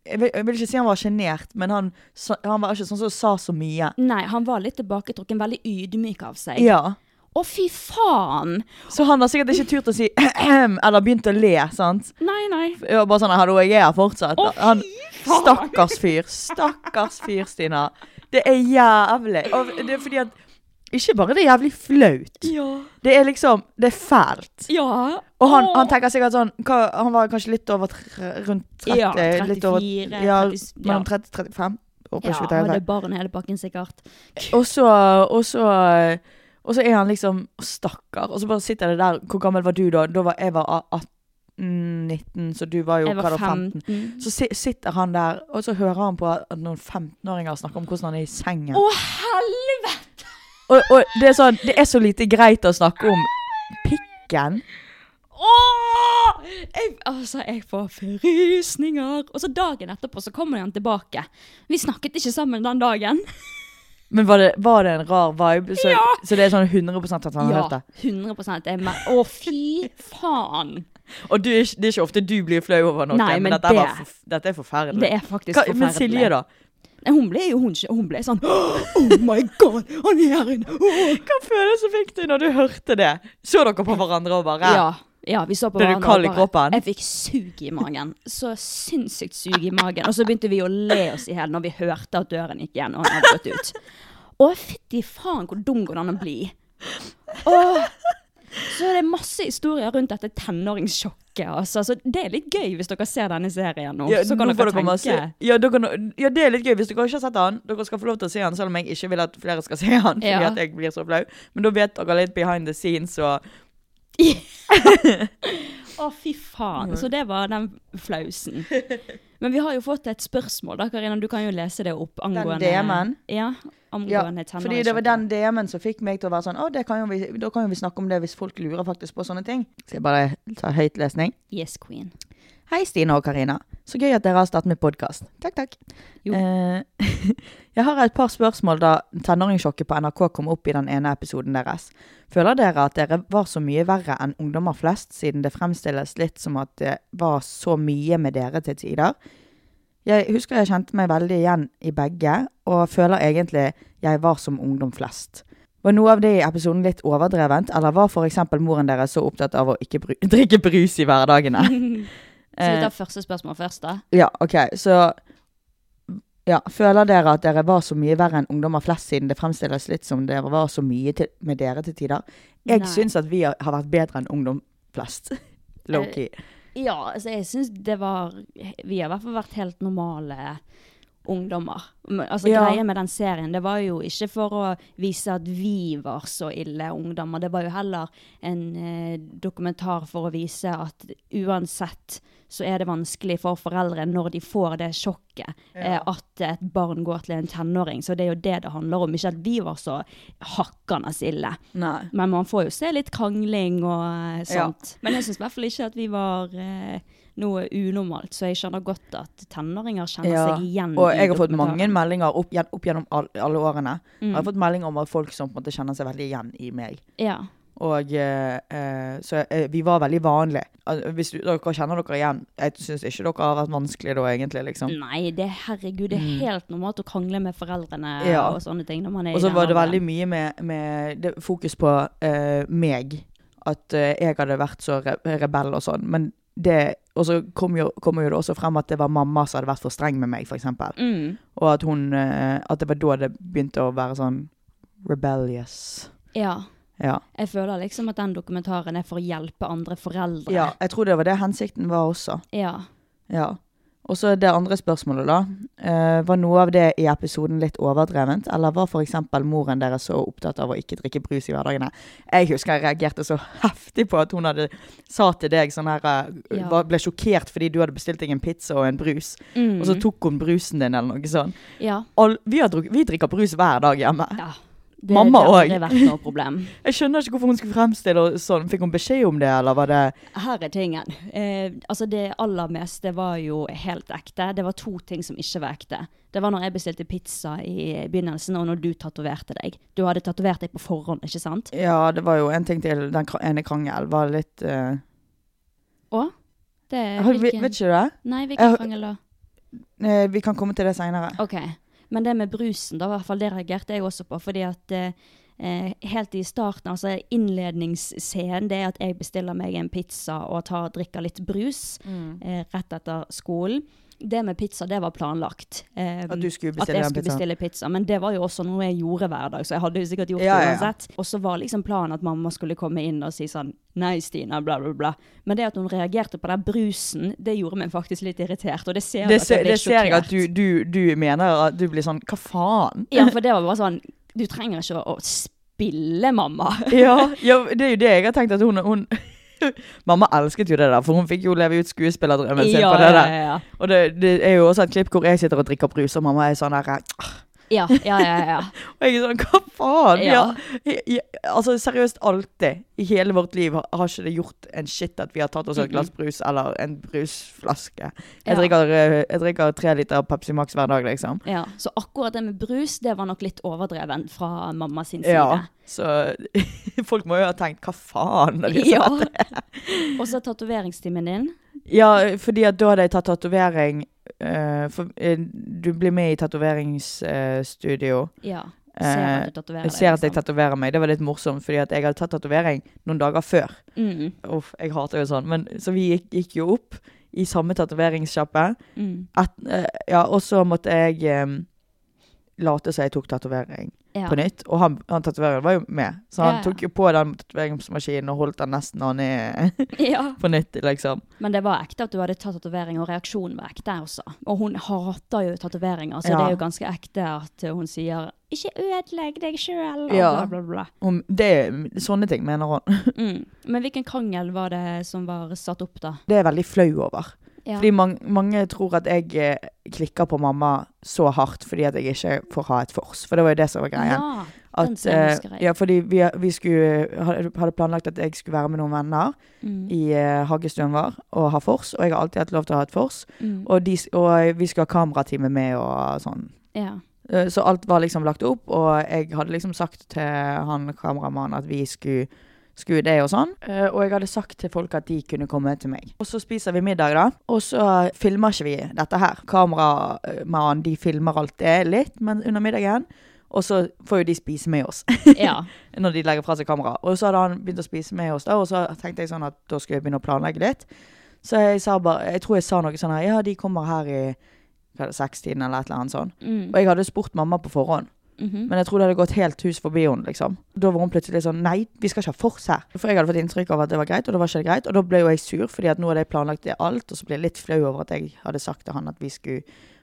S2: jeg, vil, jeg vil ikke si han var sjenert, men han, sa- han var ikke sånn som sa så mye.
S1: Nei, han var litt tilbaketrukken, veldig ydmyk av seg.
S2: Ja.
S1: Å, fy faen!
S2: Så han har sikkert ikke turt å si eller begynt å le, sant?
S1: Nei, nei.
S2: Ja, bare sånn, hallo, jeg er her fortsatt.
S1: Å, fy
S2: han, stakkars fyr. Stakkars fyr, Stina. Det er jævlig. Og det er fordi at Ikke bare det er jævlig flaut.
S1: Ja.
S2: Det er liksom Det er fælt.
S1: Ja.
S2: Og han,
S1: Åh.
S2: han tenker sikkert sånn hva, Han var kanskje litt over tre- rundt 30?
S1: Ja,
S2: litt over,
S1: 34,
S2: ja,
S1: 30, ja.
S2: mellom 30 35. Håper
S1: Ja, han
S2: ikke vi tar helt
S1: hadde
S2: feil.
S1: barn hele pakken, sikkert.
S2: Og så Og så og så er han liksom å, Stakkar. Og så bare sitter det der Hvor gammel var du da? Da var jeg var 18-19, så du var jo
S1: Jeg
S2: hva
S1: var
S2: da, 15.
S1: 15.
S2: Så si, sitter han der, og så hører han på at noen 15-åringer snakker om hvordan han er i sengen.
S1: Å, helvete!
S2: Og, og det er sånn Det er så lite greit å snakke om pikken.
S1: Å! Jeg, altså, jeg får frysninger. Og så dagen etterpå så kommer han tilbake. Vi snakket ikke sammen den dagen.
S2: Men var det, var det en rar vibe? Så,
S1: Ja.
S2: så det er sånn 100 at han har hørt det?
S1: 100 jeg er med. Å, fy faen!
S2: Og du, er ikke- det er ikke ofte du blir flau over noe,
S1: Nei,
S2: men,
S1: men
S2: dette, er bare
S1: det-
S2: forf- dette er forferdelig.
S1: Det er faktisk
S2: Hva- Men
S1: forferdelig.
S2: Silje, da?
S1: Nei, Hun ble jo hun, hun ble sånn Oh my god, han er her inne! oh. Åh!»
S2: Hva følelse fikk du når du hørte det? Så dere på hverandre og bare
S1: Ja. ja, vi så på
S2: Ble du
S1: hverandre
S2: kald i
S1: og
S2: kroppen?
S1: Jeg fikk sug i magen. Så sinnssykt sug i magen. Og så begynte vi å le oss i hjel når vi hørte at døren gikk igjen og han hadde gått ut. Å, fytti faen hvor dum går det an å bli. Åh. Så det er masse historier rundt dette tenåringssjokket. Altså. Så det er litt gøy hvis dere ser denne serien nå.
S2: Ja,
S1: så kan
S2: nå
S1: dere
S2: får dere
S1: tenke
S2: masse- ja, dere kan- ja, det er litt gøy. Hvis dere ikke har sett han, dere skal få lov til å se han, selv om jeg ikke vil at flere skal se han, fordi
S1: Ja.
S2: at jeg blir så flau. Men da vet dere litt behind the scenes og
S1: Å, fy faen. Så det var den flausen. Men vi har jo fått et spørsmål, da, Karina. Du kan jo lese det opp angående
S2: DM-en?
S1: Ja,
S2: Ja,
S1: angående tenåringskjøkken.
S2: fordi det var den DM-en som fikk meg til å være sånn Å, det kan jo vi, da kan jo vi snakke om det hvis folk lurer faktisk på sånne ting. Skal jeg bare ta høytlesning?
S1: Yes, queen.
S2: Hei, Stine og Karina. Så gøy at dere har startet med podkast. Takk, takk.
S1: Jo.
S2: Eh, jeg har et par spørsmål da tenåringssjokket på NRK kom opp i den ene episoden deres. Føler dere at dere var så mye verre enn ungdommer flest, siden det fremstilles litt som at det var så mye med dere til tider? Jeg husker jeg kjente meg veldig igjen i begge, og føler egentlig jeg var som ungdom flest. Var noe av det i episoden litt overdrevent, eller var for eksempel moren deres så opptatt av å ikke bru drikke brus i hverdagene?
S1: Så
S2: eh,
S1: vi tar første spørsmål først, da.
S2: Ja, ok, så ja, Føler dere at dere var så mye verre enn ungdommer flest, siden det fremstilles litt som dere var så mye til, med dere til tider? Jeg
S1: Nei.
S2: syns at vi har, har vært bedre enn ungdom flest. Low-key.
S1: Ja, altså jeg syns det var Vi har i hvert fall vært helt normale ungdommer. Men, Altså
S2: Ja.
S1: Greia med den serien det var jo ikke for å vise at vi var så ille ungdommer. Det var jo heller en eh, dokumentar for å vise at uansett så er det vanskelig for foreldre når de får det sjokket eh, at et barn går til en tenåring. Så det er jo det det handler om. Ikke at vi var så hakkende ille.
S2: Nei.
S1: Men man får jo se litt krangling og eh,
S2: Ja.
S1: sånt. Men jeg syns i hvert fall ikke at vi var eh, noe unormalt, så jeg skjønner godt at tenåringer kjenner
S2: Ja.
S1: seg igjen.
S2: Og
S1: i
S2: jeg har fått
S1: dokumentaren.
S2: mange meldinger opp, gjen- opp gjennom all, alle årene. Jeg har fått meldinger om at folk som på en måte kjenner seg veldig igjen i meg.
S1: Ja.
S2: Og eh, eh, Så eh, vi var veldig vanlige. Al- Hvis du, dere kjenner dere igjen, jeg syns ikke dere har vært vanskelige da, egentlig. liksom.
S1: Nei, det, herregud, det er helt normalt å krangle med foreldrene
S2: Mm. Ja.
S1: og sånne ting. når man er i
S2: Og så
S1: den
S2: var det
S1: alderen.
S2: veldig mye med, med det, fokus på eh, meg. At eh, jeg hadde vært så re rebell og sånn. Men det, og så kom jo, kom jo det også frem at det var mamma som hadde vært for streng med meg, f.eks. eksempel
S1: Mm.
S2: Og at, hun, eh, at det var da det begynte å være sånn rebellious.
S1: Ja.
S2: Ja.
S1: Jeg føler liksom at den dokumentaren er for å hjelpe andre foreldre.
S2: ja. Jeg tror det var det hensikten var også.
S1: Ja.
S2: Ja. Og så det andre spørsmålet, da. Eh, var noe av det i episoden litt overdrevent, eller var f.eks. moren deres så opptatt av å ikke drikke brus i hverdagene? Jeg husker jeg reagerte så heftig på at hun hadde sa til deg sånn her eh,
S1: Ja.
S2: var- Ble sjokkert fordi du hadde bestilt deg en pizza og en brus,
S1: Mm.
S2: og så tok hun brusen din, eller noe sånt.
S1: ja.
S2: All, vi, har drukket, vi drikker brus hver dag hjemme.
S1: ja. Det,
S2: Mamma
S1: det har aldri
S2: også.
S1: vært noe problem.
S2: Jeg skjønner ikke hvorfor hun skulle fremstille det sånn. Fikk hun beskjed om det, eller var det
S1: Her er tingen. Eh, altså det aller meste var jo helt ekte. Det var to ting som ikke var ekte. Det var når jeg bestilte pizza i begynnelsen, og når du tatoverte deg. Du hadde tatovert deg på forhånd, ikke sant?
S2: Ja, det var jo en ting til. Den kra- ene krangelen var litt eh,
S1: Og? Det,
S2: vet, Eh, vet ikke du det?
S1: Nei,
S2: Jeg-
S1: hvilken krangel da?
S2: Eh, Vi kan komme til det seinere.
S1: Ok, men det med brusen da, i hvert fall det reagerte jeg også på, fordi at eh, eh, helt i starten, altså innledningsscenen, det er at jeg bestiller meg en pizza og tar, drikker litt brus
S2: Mm.
S1: eh, rett etter skolen. Det med pizza, det var planlagt. Eh,
S2: At du skulle
S1: at
S2: bestille
S1: jeg
S2: den
S1: skulle
S2: pizzaen.
S1: bestille pizza. Men det var jo også noe jeg gjorde hver dag, så jeg hadde jo sikkert gjort
S2: Ja, ja,
S1: det
S2: ja.
S1: uansett. Og så var liksom planen at mamma skulle komme inn og si sånn Nei, Stina, bla, bla, bla. Men det at hun reagerte på den brusen, det gjorde meg faktisk litt irritert. Og det ser, du
S2: Det,
S1: at
S2: ser-
S1: jeg ble
S2: det ser jeg at
S1: sjokkert.
S2: du, du, du mener at du blir sånn Hva faen?
S1: Ja, for det var bare sånn Du trenger ikke å spille, mamma.
S2: Ja, ja, det er jo det jeg har tenkt at hun, hun Mamma elsket jo det der, for hun fikk jo leve ut skuespillerdrømmen sin på det
S1: ja,
S2: der.
S1: ja.
S2: Og det, det er jo også et klipp hvor jeg sitter og drikker brus, og mamma er sånn der «Åh».
S1: Ja, ja, ja, ja.
S2: Og jeg er sånn Hva faen? Vi
S1: Ja.
S2: har- i- i- altså seriøst, alltid. I hele vårt liv har, har ikke det gjort en shit at vi har tatt oss et glass brus eller en brusflaske.
S1: Ja.
S2: Jeg, drikker, eh, jeg drikker tre liter Pepsi Max hver dag, liksom.
S1: ja. Så akkurat det med brus, det var nok litt overdreven fra mamma sin side.
S2: Ja, så folk må jo ha tenkt 'hva faen'? når de sa
S1: Ja.
S2: det.
S1: Og så tatoveringstimen din.
S2: ja, fordi at da hadde jeg tatt tatovering eh, For eh, du blir med i tatoveringsstudio.
S1: Ja. Ser liksom. at du tatoverer
S2: Eh, jeg ser at jeg tatoverer meg. Det var litt morsomt, fordi at jeg hadde tatt tatovering noen dager før.
S1: Mm,
S2: Uff, jeg hater jo sånn. Men, så vi gikk, gikk jo opp i samme tatoveringssjappe.
S1: mm.
S2: Et- eh, Ja, og så måtte jeg eh, late som jeg tok tatovering.
S1: Ja.
S2: på nytt. Og han, han tatoveren var jo med, så han
S1: Ja, ja.
S2: tok jo på den tatoveringsmaskinen og holdt den nesten han er
S1: ja.
S2: på nytt, liksom.
S1: Men det var ekte at du hadde tatt tatovering, og reaksjonen var ekte også. Og hun hater jo tatoveringer, så
S2: Ja.
S1: det er jo ganske ekte at hun sier 'ikke ødelegg deg sjøl', og
S2: Ja.
S1: bla, bla, bla.
S2: Om det, sånne ting mener han.
S1: Mm. Men hvilken krangel var det som var satt opp, da?
S2: Det er jeg veldig flau over.
S1: Ja.
S2: Fordi man, mange tror at jeg eh, klikker på mamma så hardt fordi at jeg ikke får ha et fors. For det var jo det som var greia.
S1: Ja, den
S2: At,
S1: scenen
S2: eh,
S1: husker jeg.
S2: ja, fordi vi, vi skulle, hadde hadde planlagt at jeg skulle være med noen venner
S1: Mm,
S2: i eh, hagestuen vår og ha fors. Og jeg har alltid hatt lov til å ha et fors.
S1: mm,
S2: Og, de, s- og vi skulle ha kameratime med og sånn.
S1: ja.
S2: Eh, Så alt var liksom lagt opp, og jeg hadde liksom sagt til han kameramannen at vi skulle skulle det og sånn. Eh, Og jeg hadde sagt til folk at de kunne komme til meg. Og så spiser vi middag, da. Og så filmer ikke vi dette her. Kameramannen, de filmer alt det litt men under middagen. Og så får jo de spise med oss
S1: ja.
S2: når de legger fra seg kamera. Og så hadde han begynt å spise med oss da, og så tenkte jeg sånn at da skulle jeg begynne å planlegge litt. Så jeg sa bare, jeg tror jeg sa noe sånn her, ja, de kommer her i hva er det, sekstiden eller et eller annet sånn.
S1: Mm,
S2: Og jeg hadde spurt mamma på forhånd.
S1: mhm.
S2: Men jeg tror det hadde gått helt hus forbi henne, liksom. Da var hun plutselig sånn Nei, vi skal ikke ha fors her. For jeg hadde fått inntrykk av at det var greit, og det var ikke greit. Og da ble jo jeg sur, fordi at nå hadde jeg planlagt det alt, og så ble jeg litt flau over at jeg hadde sagt til han at vi skulle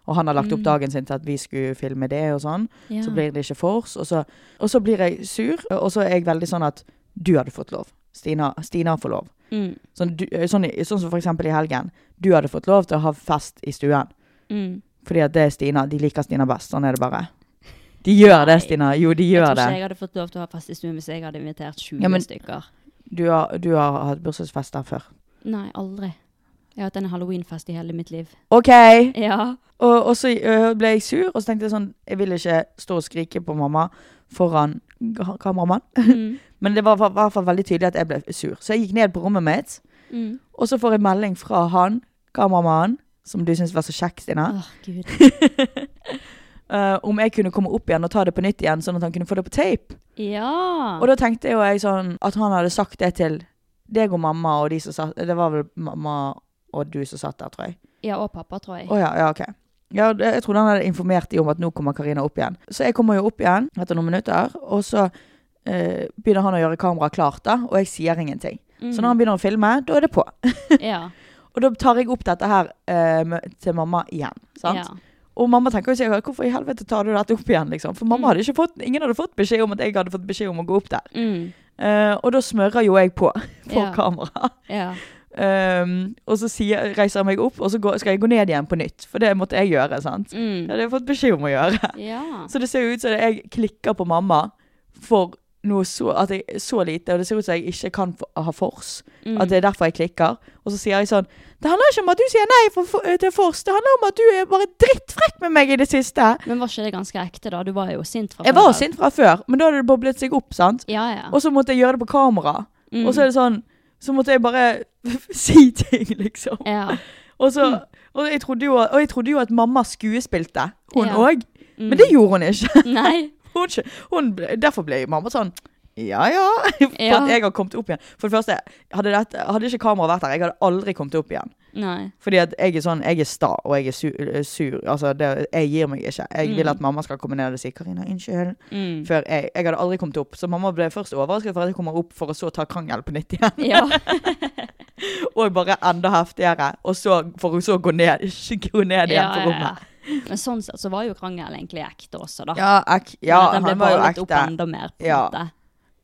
S2: Og han har lagt opp dagen sin til at vi skulle filme det og sånn.
S1: Ja.
S2: Så blir det ikke fors. Og så, og så blir jeg sur, og så er jeg veldig sånn at du hadde fått lov. Stina, Stina får lov.
S1: mm,
S2: Sånn, du, sånn, sånn som for eksempel i helgen. Du hadde fått lov til å ha fest i stuen.
S1: mm.
S2: Fordi at det er Stina. De liker Stina best. Sånn er det bare. De gjør det, Stina. Jo, de
S1: Jeg
S2: gjør
S1: tror
S2: det.
S1: ikke jeg hadde fått lov til å ha fest i stuen hvis jeg hadde invitert 20
S2: Ja, men-
S1: stykker.
S2: Du har, du har hatt bursdagsfest der før.
S1: Nei, aldri. Jeg har hatt en halloweenfest i hele mitt liv.
S2: OK!
S1: Ja.
S2: Og, og så ø, ble jeg sur, og så tenkte jeg sånn Jeg vil ikke stå og skrike på mamma foran ga- kameramannen.
S1: Mm.
S2: Men det var i hvert fall veldig tydelig at jeg ble sur. Så jeg gikk ned på rommet mitt,
S1: Mm.
S2: og så får jeg melding fra han, kameramannen, som du syns var så kjekk, Stina,
S1: Åh, gud.
S2: eh, om jeg kunne komme opp igjen og ta det på nytt igjen, sånn at han kunne få det på tape.
S1: Ja.
S2: Og da tenkte jo jeg sånn at han hadde sagt det til deg og mamma og de som satt Det var vel mamma og du som satt der, tror jeg.
S1: ja, og pappa, tror jeg.
S2: Å ja, ja, ok. Ja, det- jeg trodde han hadde informert de om at nå kommer Karina opp igjen. Så jeg kommer jo opp igjen etter noen minutter, og så eh, begynner han å gjøre kameraet klart, da, og jeg sier ingenting. Så når han begynner å filme, da er det på.
S1: Mm. Ja.
S2: Og da tar jeg opp dette her eh, med- til mamma igjen. sant?
S1: Ja.
S2: Og mamma tenker jo sikkert hvorfor i helvete tar du dette opp igjen, liksom? For mamma hadde ikke fått, ingen hadde fått beskjed om at jeg hadde fått beskjed om å gå opp der.
S1: Mm.
S2: Eh, og da smører jo jeg på for
S1: Ja.
S2: kameraet.
S1: Ja.
S2: Um, og så sier, reiser jeg meg opp, og så går, skal jeg gå ned igjen på nytt. For det måtte jeg gjøre. sant? Det
S1: Mm.
S2: hadde jeg fått beskjed om å gjøre.
S1: Ja.
S2: Så det ser jo ut som det- jeg klikker på mamma for noe så, at jeg, så lite, og det ser ut som jeg ikke kan få- ha fors.
S1: Mm.
S2: At det er derfor jeg klikker. Og så sier jeg sånn Det handler ikke om at du sier nei for, for, til fors, det handler om at du er bare drittfrekk med meg i det siste.
S1: Men var ikke det ganske ekte, da? Du var jo sint fra
S2: Jeg var
S1: av.
S2: sint fra før, men da hadde det boblet seg opp, sant?
S1: Ja, ja.
S2: Og så måtte jeg gjøre det på kamera.
S1: Mm.
S2: Og så er det sånn Så måtte jeg bare si ting, liksom.
S1: ja.
S2: Og, så, og, jeg trodde jo, og jeg trodde jo at mamma skuespilte, hun
S1: Mm. Ja.
S2: òg. Men det gjorde hun ikke.
S1: Mm. Nei.
S2: Hun, skj- hun, ble- derfor ble mamma sånn ja, ja. For
S1: Ja.
S2: at jeg har kommet opp igjen. For det første, hadde, dette, hadde ikke kameraet vært der, jeg hadde aldri kommet opp igjen.
S1: Nei.
S2: Fordi at jeg er sånn, jeg er sta, og jeg er sur. sur. Altså, det, jeg gir meg ikke. Jeg vil at mamma skal komme ned og si 'Karina, unnskyld'.
S1: Mm.
S2: Før jeg, jeg hadde aldri kommet opp. Så mamma ble først overrasket for at jeg kommer opp, for å så ta krangel på nytt igjen.
S1: Ja.
S2: Og bare enda heftigere. Og så, for hun så gå ned, gå ned igjen
S1: Ja,
S2: på
S1: ja,
S2: rommet.
S1: ja. Men sånn sett så var jo krangel egentlig ekte også, da.
S2: Ja, ek,
S1: Men
S2: ja
S1: at den ble
S2: han var jo
S1: ballet Opp
S2: ekte.
S1: enda mer, på en
S2: Ja.
S1: måte.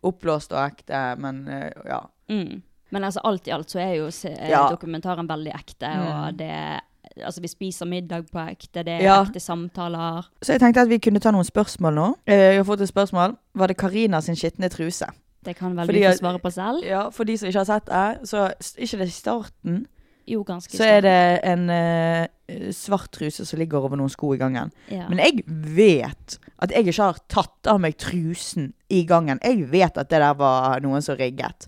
S2: Oppblåst og ekte, men eh, ja.
S1: Mm. Men altså, alt i alt så er jo se- eh,
S2: Ja.
S1: dokumentaren veldig ekte, og det Altså, vi spiser middag på ekte, det er
S2: Ja.
S1: ekte samtaler.
S2: Så jeg tenkte at vi kunne ta noen spørsmål nå. Eh, Jeg har fått et spørsmål. Var det Karina sin skitne truse?
S1: Det kan vel
S2: Fordi
S1: du få
S2: jeg-
S1: svare på selv?
S2: Ja, for de som ikke har sett det, så s- ikke det i starten.
S1: Jo, ganske
S2: Så er det en eh, svart truse som ligger over noen sko i gangen.
S1: Ja.
S2: Men jeg vet at jeg ikke har tatt av meg trusen i gangen. Jeg vet at det der var noen som rigget.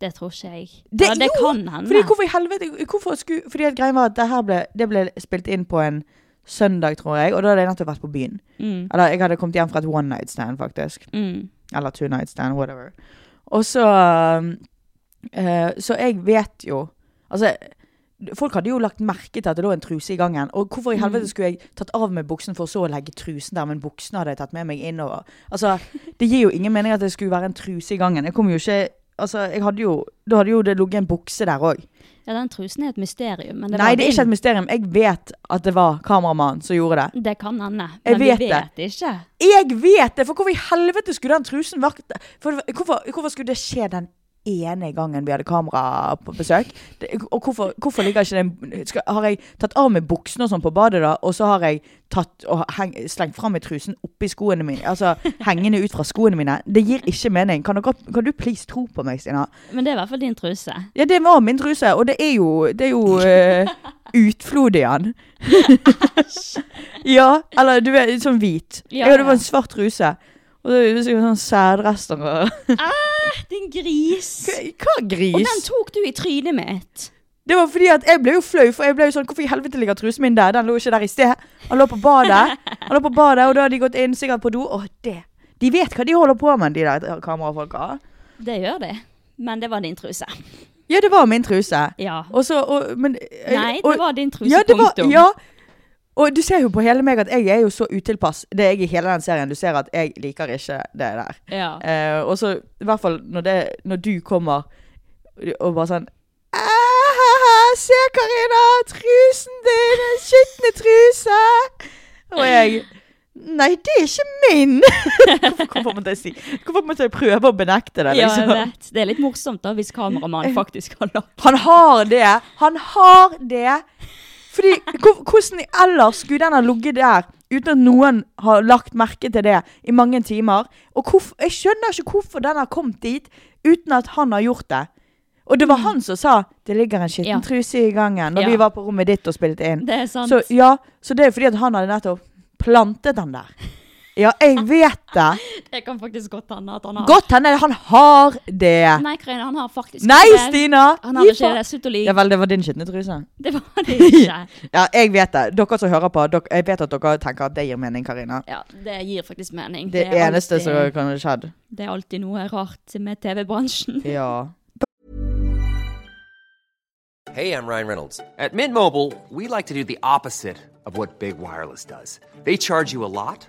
S1: Det tror ikke jeg.
S2: Det-
S1: ja, det
S2: jo,
S1: kan hende.
S2: Fordi hvorfor i helvete hvorfor skulle, Fordi at greien var at det her ble, det ble spilt inn på en søndag, tror jeg. Og da hadde jeg nettopp vært på byen.
S1: Mm,
S2: Eller jeg hadde kommet hjem fra et one night stand, faktisk.
S1: mm,
S2: Eller two night stand, whatever. Og så eh, Så jeg vet jo Altså Folk hadde jo lagt merke til at det lå en truse i gangen. Og hvorfor i helvete skulle jeg tatt av meg buksen for så å legge trusen der, men buksene hadde jeg tatt med meg innover? Altså, det gir jo ingen mening at det skulle være en truse i gangen. Jeg kom jo ikke Altså, jeg hadde jo Da hadde jo det ligget en bukse der òg.
S1: Ja, den trusen er et mysterium. Men det
S2: Nei,
S1: var
S2: det er ikke
S1: din.
S2: et mysterium. Jeg vet at det var kameramannen som gjorde det.
S1: Det kan hende. Men
S2: Jeg vet
S1: vi
S2: det.
S1: vet ikke.
S2: Jeg vet det! For hvorfor i helvete skulle den trusen vært for, hvorfor, hvorfor skulle det skje den ene gangen vi hadde kamera på besøk? Det, og hvorfor, hvorfor ligger ikke den skal, Har jeg tatt av meg buksene og sånn på badet, da, og så har jeg tatt og heng, slengt fra meg trusen oppi skoene mine? Altså hengende ut fra skoene mine? Det gir ikke mening. Kan, dere, kan du please tro på meg, Stina?
S1: Men det er i hvert fall din truse.
S2: Ja, det var min truse, og det er jo, det er jo eh, utflod i den. ja, eller du vet, sånn hvit.
S1: Ja,
S2: Ja, det var
S1: ja.
S2: en svart truse. Og så er det sikkert sånn sædrester og
S1: Din gris!
S2: Hva hva
S1: Og den
S2: gris?
S1: tok du i trynet mitt.
S2: Det var fordi at jeg ble jo flau, for jeg ble jo sånn Hvorfor i helvete ligger trusen min der? Den lå ikke der i sted. Han lå på badet, Han lå på badet, og da har de gått inn sikkert på do. Å, det De vet hva de holder på med, de der kamerafolka.
S1: Det gjør det. Men det var din truse.
S2: Ja, det var min truse.
S1: Ja.
S2: Og så og, men, eh,
S1: Nei,
S2: og-
S1: det var din truse,
S2: Ja, det var,
S1: punktum.
S2: ja. Og du ser jo på hele meg at jeg er jo så utilpass. Det er jeg i hele den serien. Du ser at jeg liker ikke det der.
S1: Ja.
S2: Eh, og så, i hvert fall når, det, når du kommer og bare sånn «Æhaha, Se, Karina! Trusen din! En skitne truse! Og jeg Nei, det er ikke min! hvorfor, hvorfor måtte jeg si Hvorfor måtte jeg prøve å benekte det?
S1: Ja, jeg
S2: Liksom?
S1: vet. Det er litt morsomt da, hvis kameramannen faktisk har lagt
S2: Han har det! Han har det! Fordi, hvor- hvordan ellers skulle den ha ligget der uten at noen har lagt merke til det i mange timer? Og hvorf- Jeg skjønner ikke hvorfor den har kommet dit uten at han har gjort det. Og det var han som sa 'det ligger en skitten
S1: Mm. Ja.
S2: truse i gangen' når
S1: Ja.
S2: vi var på rommet ditt og spilte inn.
S1: Det er sant.
S2: Så, ja, så det er fordi at han hadde nettopp plantet den der. Ja, jeg vet det.
S1: Det kan faktisk godt hende at han har
S2: Godt hende han har det.
S1: Nei, Karina, han har faktisk
S2: Nei,
S1: ikke det.
S2: Stina!
S1: Han har
S2: Gi
S1: ikke
S2: faen.
S1: det. Slutt å
S2: Ja
S1: lyve.
S2: vel, det var din skitne truse.
S1: Det var det ikke.
S2: Ja, jeg vet det. Dere som hører på, dere, jeg vet at dere tenker at det gir mening, Karina.
S1: Ja, det gir faktisk mening.
S2: Det, eneste
S1: alltid,
S2: som kan ha skjedd.
S1: Det er alltid noe rart med TV-bransjen.
S2: Ja.
S3: Hey, I'm Ryan Reynolds. At Mint Mobile, we like to do the opposite of what Big Wireless does. They charge you a lot,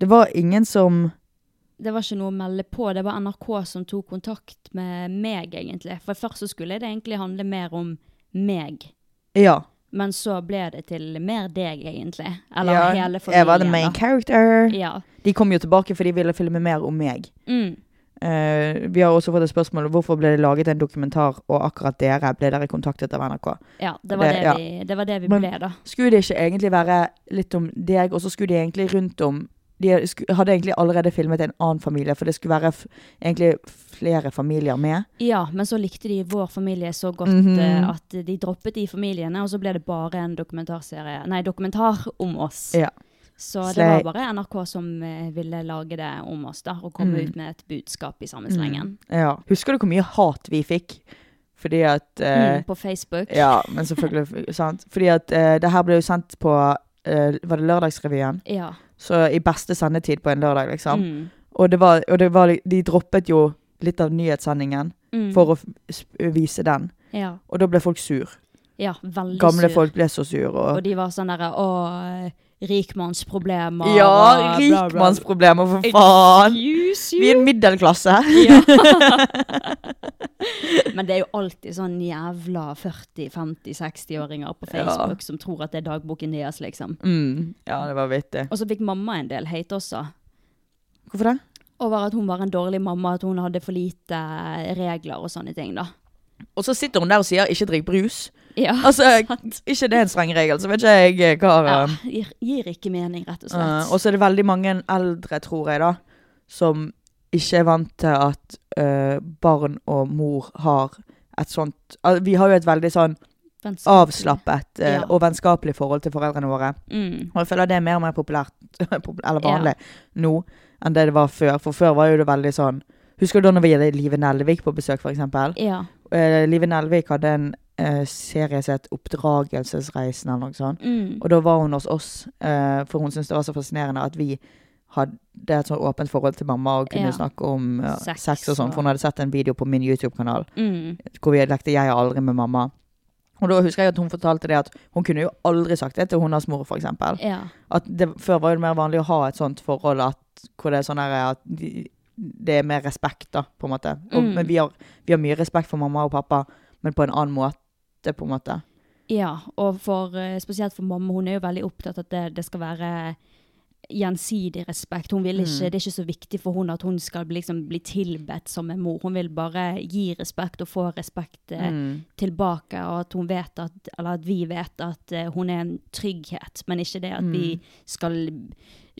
S2: Det var ingen som
S1: Det var ikke noe å melde på. Det var NRK som tok kontakt med meg, egentlig. For først så skulle det egentlig handle mer om meg.
S2: Ja.
S1: Men så ble det til mer deg, egentlig. Eller
S2: ja.
S1: hele
S2: Jeg var the
S1: familien.
S2: main
S1: da.
S2: character.
S1: Ja.
S2: De kom jo tilbake for de ville filme mer om meg.
S1: Mm.
S2: Eh, vi har også fått et spørsmål om hvorfor ble det laget en dokumentar, og akkurat dere ble dere kontaktet av NRK.
S1: ja det, var det,
S2: Det- ja.
S1: Vi, det var det vi
S2: Men-
S1: ble, da.
S2: Skulle det ikke egentlig være litt om deg, og så skulle de egentlig rundt om De sku- hadde egentlig allerede filmet en annen familie, for det skulle være f egentlig flere familier med.
S1: Ja, men så likte de vår familie så godt
S2: Mhm.
S1: eh, at de droppet de familiene, og så ble det bare en dokumentarserie, nei, dokumentar om oss.
S2: Ja.
S1: Så det
S2: Slay.
S1: var bare NRK som eh, ville lage det om oss, da, og komme
S2: Mhm.
S1: ut med et budskap i samme slengen.
S2: Mm. Ja. Husker du hvor mye hat vi fikk? Fordi at eh,
S1: Mm, på Facebook.
S2: Ja, men selvfølgelig. sant? Fordi at eh, det her ble jo sendt på eh, Var det Lørdagsrevyen?
S1: Ja.
S2: Så i beste sendetid på en lørdag, liksom.
S1: Mm.
S2: Og, det var, og det var, de droppet jo litt av nyhetssendingen
S1: Mm.
S2: for å f- sp- vise den.
S1: ja.
S2: Og da ble folk sur.
S1: ja, veldig
S2: Gamle
S1: sur.
S2: folk ble så sur.
S1: Og
S2: Og,
S1: de var sånn derre Å, rikmannsproblemer.
S2: ja,
S1: og bla, bla, bla.
S2: rikmannsproblemer, for faen!
S1: Excuse
S2: Vi
S1: you!
S2: er en middelklasse.
S1: Ja. Men det er jo alltid sånn jævla 40-50-60-åringer på Facebook som tror at det er dagboken deres, liksom.
S2: Mm. Ja, det var vittig.
S1: Og så fikk mamma en del hate også.
S2: Hvorfor det?
S1: Over at hun var en dårlig mamma, at hun hadde for lite eh, regler og sånne ting, da.
S2: Og så sitter hun der og sier 'ikke drikk brus'.
S1: Ja,
S2: Altså,
S1: sant.
S2: ikke det er en streng regel, så vet ikke jeg eh, hva
S1: Ja,
S2: eh,
S1: gir, gir ikke mening, rett og
S2: Eh, og
S1: slett.
S2: så er det veldig mange eldre, tror jeg, da, som ikke er vant til at eh, barn og mor har et sånt al- Vi har jo et veldig sånn
S1: Vennskap.
S2: avslappet eh,
S1: Ja.
S2: og vennskapelig forhold til foreldrene våre.
S1: Mm.
S2: Og jeg føler det er mer og mer populært, pop- eller
S1: Ja.
S2: vanlig, nå enn det det var før. For før var jo det veldig sånn Husker du da når vi hadde Live Nelvik på besøk, f.eks.? eksempel?
S1: Ja.
S2: Eh, Live Nelvik hadde en eh, serie som het 'Oppdragelsesreisen' eller noe sånt.
S1: Mm.
S2: Og da var hun hos oss, eh, for hun syntes det var så fascinerende at vi hadde et sånn åpent forhold til mamma og kunne
S1: Ja.
S2: snakke om eh,
S1: Sex
S2: sex, og sånn,
S1: og-
S2: for hun hadde sett en video på min YouTube-kanal
S1: Mm.
S2: hvor vi lekte 'Jeg er aldri med mamma'. Og da husker jeg at hun fortalte det at hun kunne jo aldri sagt det til hennes mor, f.eks.
S1: Ja.
S2: Før var jo det mer vanlig å ha et sånt forhold at, hvor det er sånn her at de, det er mer respekt, da, på en måte. Og,
S1: Mm.
S2: Men vi har, vi har mye respekt for mamma og pappa, men på en annen måte, på en måte.
S1: Ja, og for, eh, spesielt for mamma, hun er jo veldig opptatt av at det, det skal være gjensidig respekt. Hun vil
S2: Mm.
S1: ikke, Det er ikke så viktig for hun at hun skal bli, liksom, bli tilbedt som en mor. Hun vil bare gi respekt og få respekt eh,
S2: Mm.
S1: tilbake, og at hun vet at, eller at vi vet at eh, hun er en trygghet, men ikke det at vi
S2: Mm.
S1: skal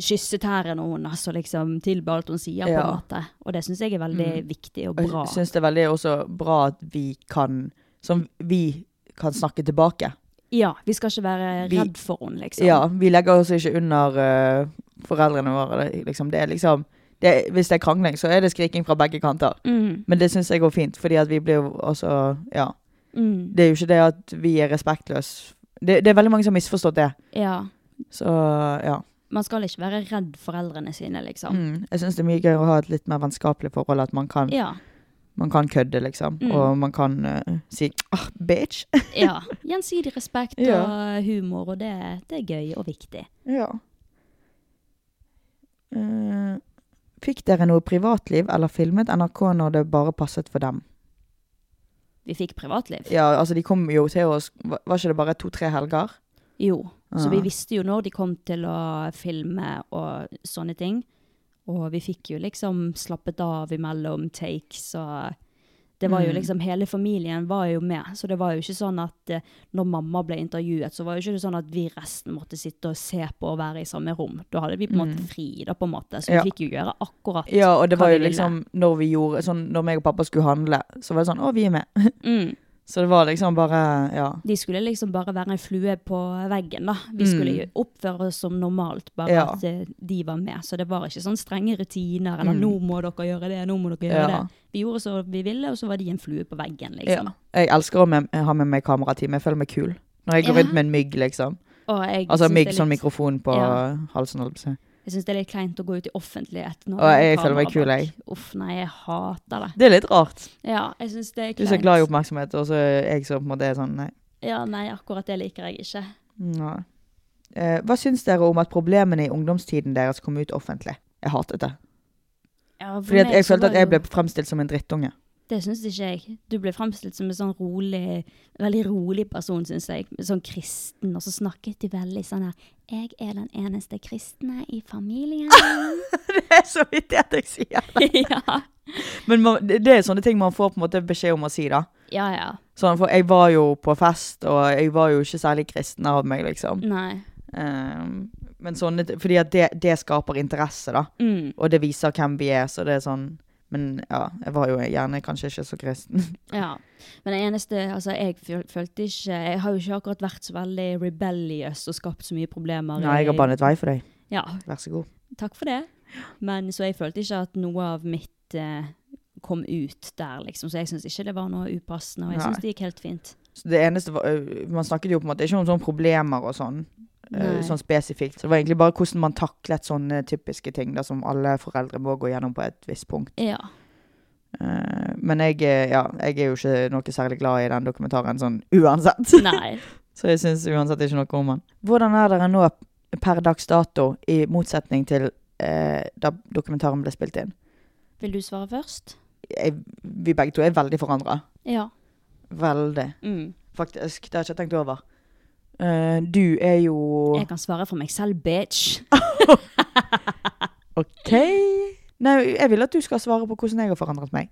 S1: kysse tærne hennes og liksom tilbe alt hun sier, på
S2: Ja. Mm.
S1: en måte. Og det syns jeg er veldig viktig og
S2: Og
S1: bra.
S2: jeg syns det er veldig også bra at vi kan Som vi kan snakke tilbake.
S1: Ja, vi skal ikke være
S2: Vi-
S1: redd for henne, liksom.
S2: Ja, vi legger oss ikke under eh, foreldrene våre. Det- Liksom. Det er liksom det, er- Hvis det er krangling, så er det skriking fra begge kanter.
S1: Mm,
S2: Men det syns jeg går fint, fordi at vi blir jo også Ja.
S1: mm,
S2: Det er jo ikke det at vi er respektløse. Det, det er veldig mange som har misforstått det.
S1: ja.
S2: Så ja.
S1: Man skal ikke være redd foreldrene sine, liksom.
S2: Mm. Jeg syns det er mye gøyere å ha et litt mer vennskapelig forhold. At man kan,
S1: Ja.
S2: man kan kødde, liksom.
S1: Mm.
S2: Og man kan eh, si ah, 'bitch'.
S1: ja. Gjensidig respekt
S2: Ja.
S1: og humor, og det, det er gøy og viktig.
S2: Ja. Eh, fikk dere noe privatliv eller filmet NRK når det bare passet for dem?
S1: Vi fikk privatliv.
S2: Ja, altså de kom jo til oss Var var ikke det bare to-tre helger?
S1: Jo. Så
S2: Ah.
S1: vi visste jo når de kom til å filme og sånne ting. Og vi fikk jo liksom slappet av imellom takes og det var jo
S2: Mm.
S1: liksom, Hele familien var jo med, så det var jo ikke sånn at eh, når mamma ble intervjuet, så var jo ikke det sånn at vi resten måtte sitte og se på og være i samme rom. Da hadde vi på en måte fri, da, på en måte. Så vi
S2: Mm. Ja.
S1: fikk jo gjøre akkurat
S2: Ja, og det
S1: hva
S2: var jo
S1: vi ville.
S2: liksom når vi gjorde sånn, Når meg og pappa skulle handle, så var det sånn 'Å, vi er med'.
S1: Mm.
S2: Så det var liksom bare Ja.
S1: De skulle liksom bare være en flue på veggen, da. Vi skulle
S2: Mm.
S1: jo oppføre oss som normalt, bare
S2: Ja.
S1: at eh, de var med. Så det var ikke sånn strenge rutiner, eller
S2: Mm.
S1: 'nå må dere gjøre det', 'nå må dere gjøre
S2: Ja.
S1: det'. Vi gjorde som vi ville, og så var de en flue på veggen, liksom.
S2: Ja. Jeg elsker å med, ha med meg kamerateam. Jeg føler meg kul. Når jeg går
S1: Ja.
S2: rundt med en mygg, liksom.
S1: Og jeg
S2: Altså
S1: syns
S2: mygg,
S1: det er
S2: sånn
S1: litt-
S2: mikrofon på
S1: Ja.
S2: halsen. holdt jeg på å si.
S1: Jeg syns det er litt kleint å gå ut i offentlighet når
S2: Og
S1: det er
S2: jeg
S1: kamera
S2: føler meg kul,
S1: bak.
S2: jeg.
S1: Uff, nei, jeg hater det.
S2: Det er litt rart.
S1: Ja, jeg syns det er
S2: Du
S1: kleint.
S2: er så glad i oppmerksomhet, og så er jeg som på en måte er sånn nei.
S1: Ja, nei, akkurat det liker jeg ikke.
S2: nei. Eh, hva syns dere om at problemene i ungdomstiden deres kom ut offentlig? Jeg hatet det.
S1: Ja, for
S2: Fordi at
S1: meg
S2: jeg
S1: så
S2: følte
S1: var
S2: at jeg
S1: jo-
S2: ble fremstilt som en drittunge.
S1: Det syns ikke jeg. Du ble fremstilt som en sånn rolig, veldig rolig person, syns jeg. Sånn kristen. Og så snakket de veldig sånn her Jeg er den eneste kristne i familien.
S2: det er så vidt det at jeg sier det.
S1: ja.
S2: Men man, det det er sånne ting man får på en måte beskjed om å si, da.
S1: ja ja.
S2: Sånn, for jeg var jo på fest, og jeg var jo ikke særlig kristen av meg, liksom.
S1: Nei.
S2: Um, men sånne, t- fordi at det, det skaper interesse, da.
S1: Mm.
S2: Og det viser hvem vi er, så det er sånn Men ja, jeg var jo gjerne kanskje ikke så kristen.
S1: Ja. Men det eneste Altså, jeg føl- følte ikke Jeg har jo ikke akkurat vært så veldig rebellious og skapt så mye problemer.
S2: Nei, jeg har bannet vei for deg.
S1: Ja.
S2: Vær så god.
S1: Takk for det. Men så jeg følte ikke at noe av mitt eh, kom ut der, liksom. Så jeg syns ikke det var noe upassende, og jeg
S2: Nei.
S1: syns det gikk helt fint.
S2: Så det eneste var, øh, Man snakket jo på en måte ikke om sånne problemer og sånn, øh,
S1: Nei.
S2: sånn spesifikt. Så det var egentlig bare hvordan man taklet sånne typiske ting da, som alle foreldre må gå gjennom på et visst punkt.
S1: Ja.
S2: Eh, men jeg, eh, ja, jeg er jo ikke noe særlig glad i den dokumentaren sånn uansett.
S1: Nei.
S2: Så jeg syns uansett ikke noe om han. Hvordan er dere nå per dags dato, i motsetning til eh, da dokumentaren ble spilt inn?
S1: Vil du svare først?
S2: Jeg, vi begge to er veldig forandra.
S1: Ja.
S2: Veldig,
S1: Mm.
S2: faktisk. Det har jeg ikke tenkt over. Eh, du er jo
S1: Jeg kan svare for meg selv, bitch.
S2: OK. Nei, jeg vil at du skal svare på hvordan jeg har forandret meg.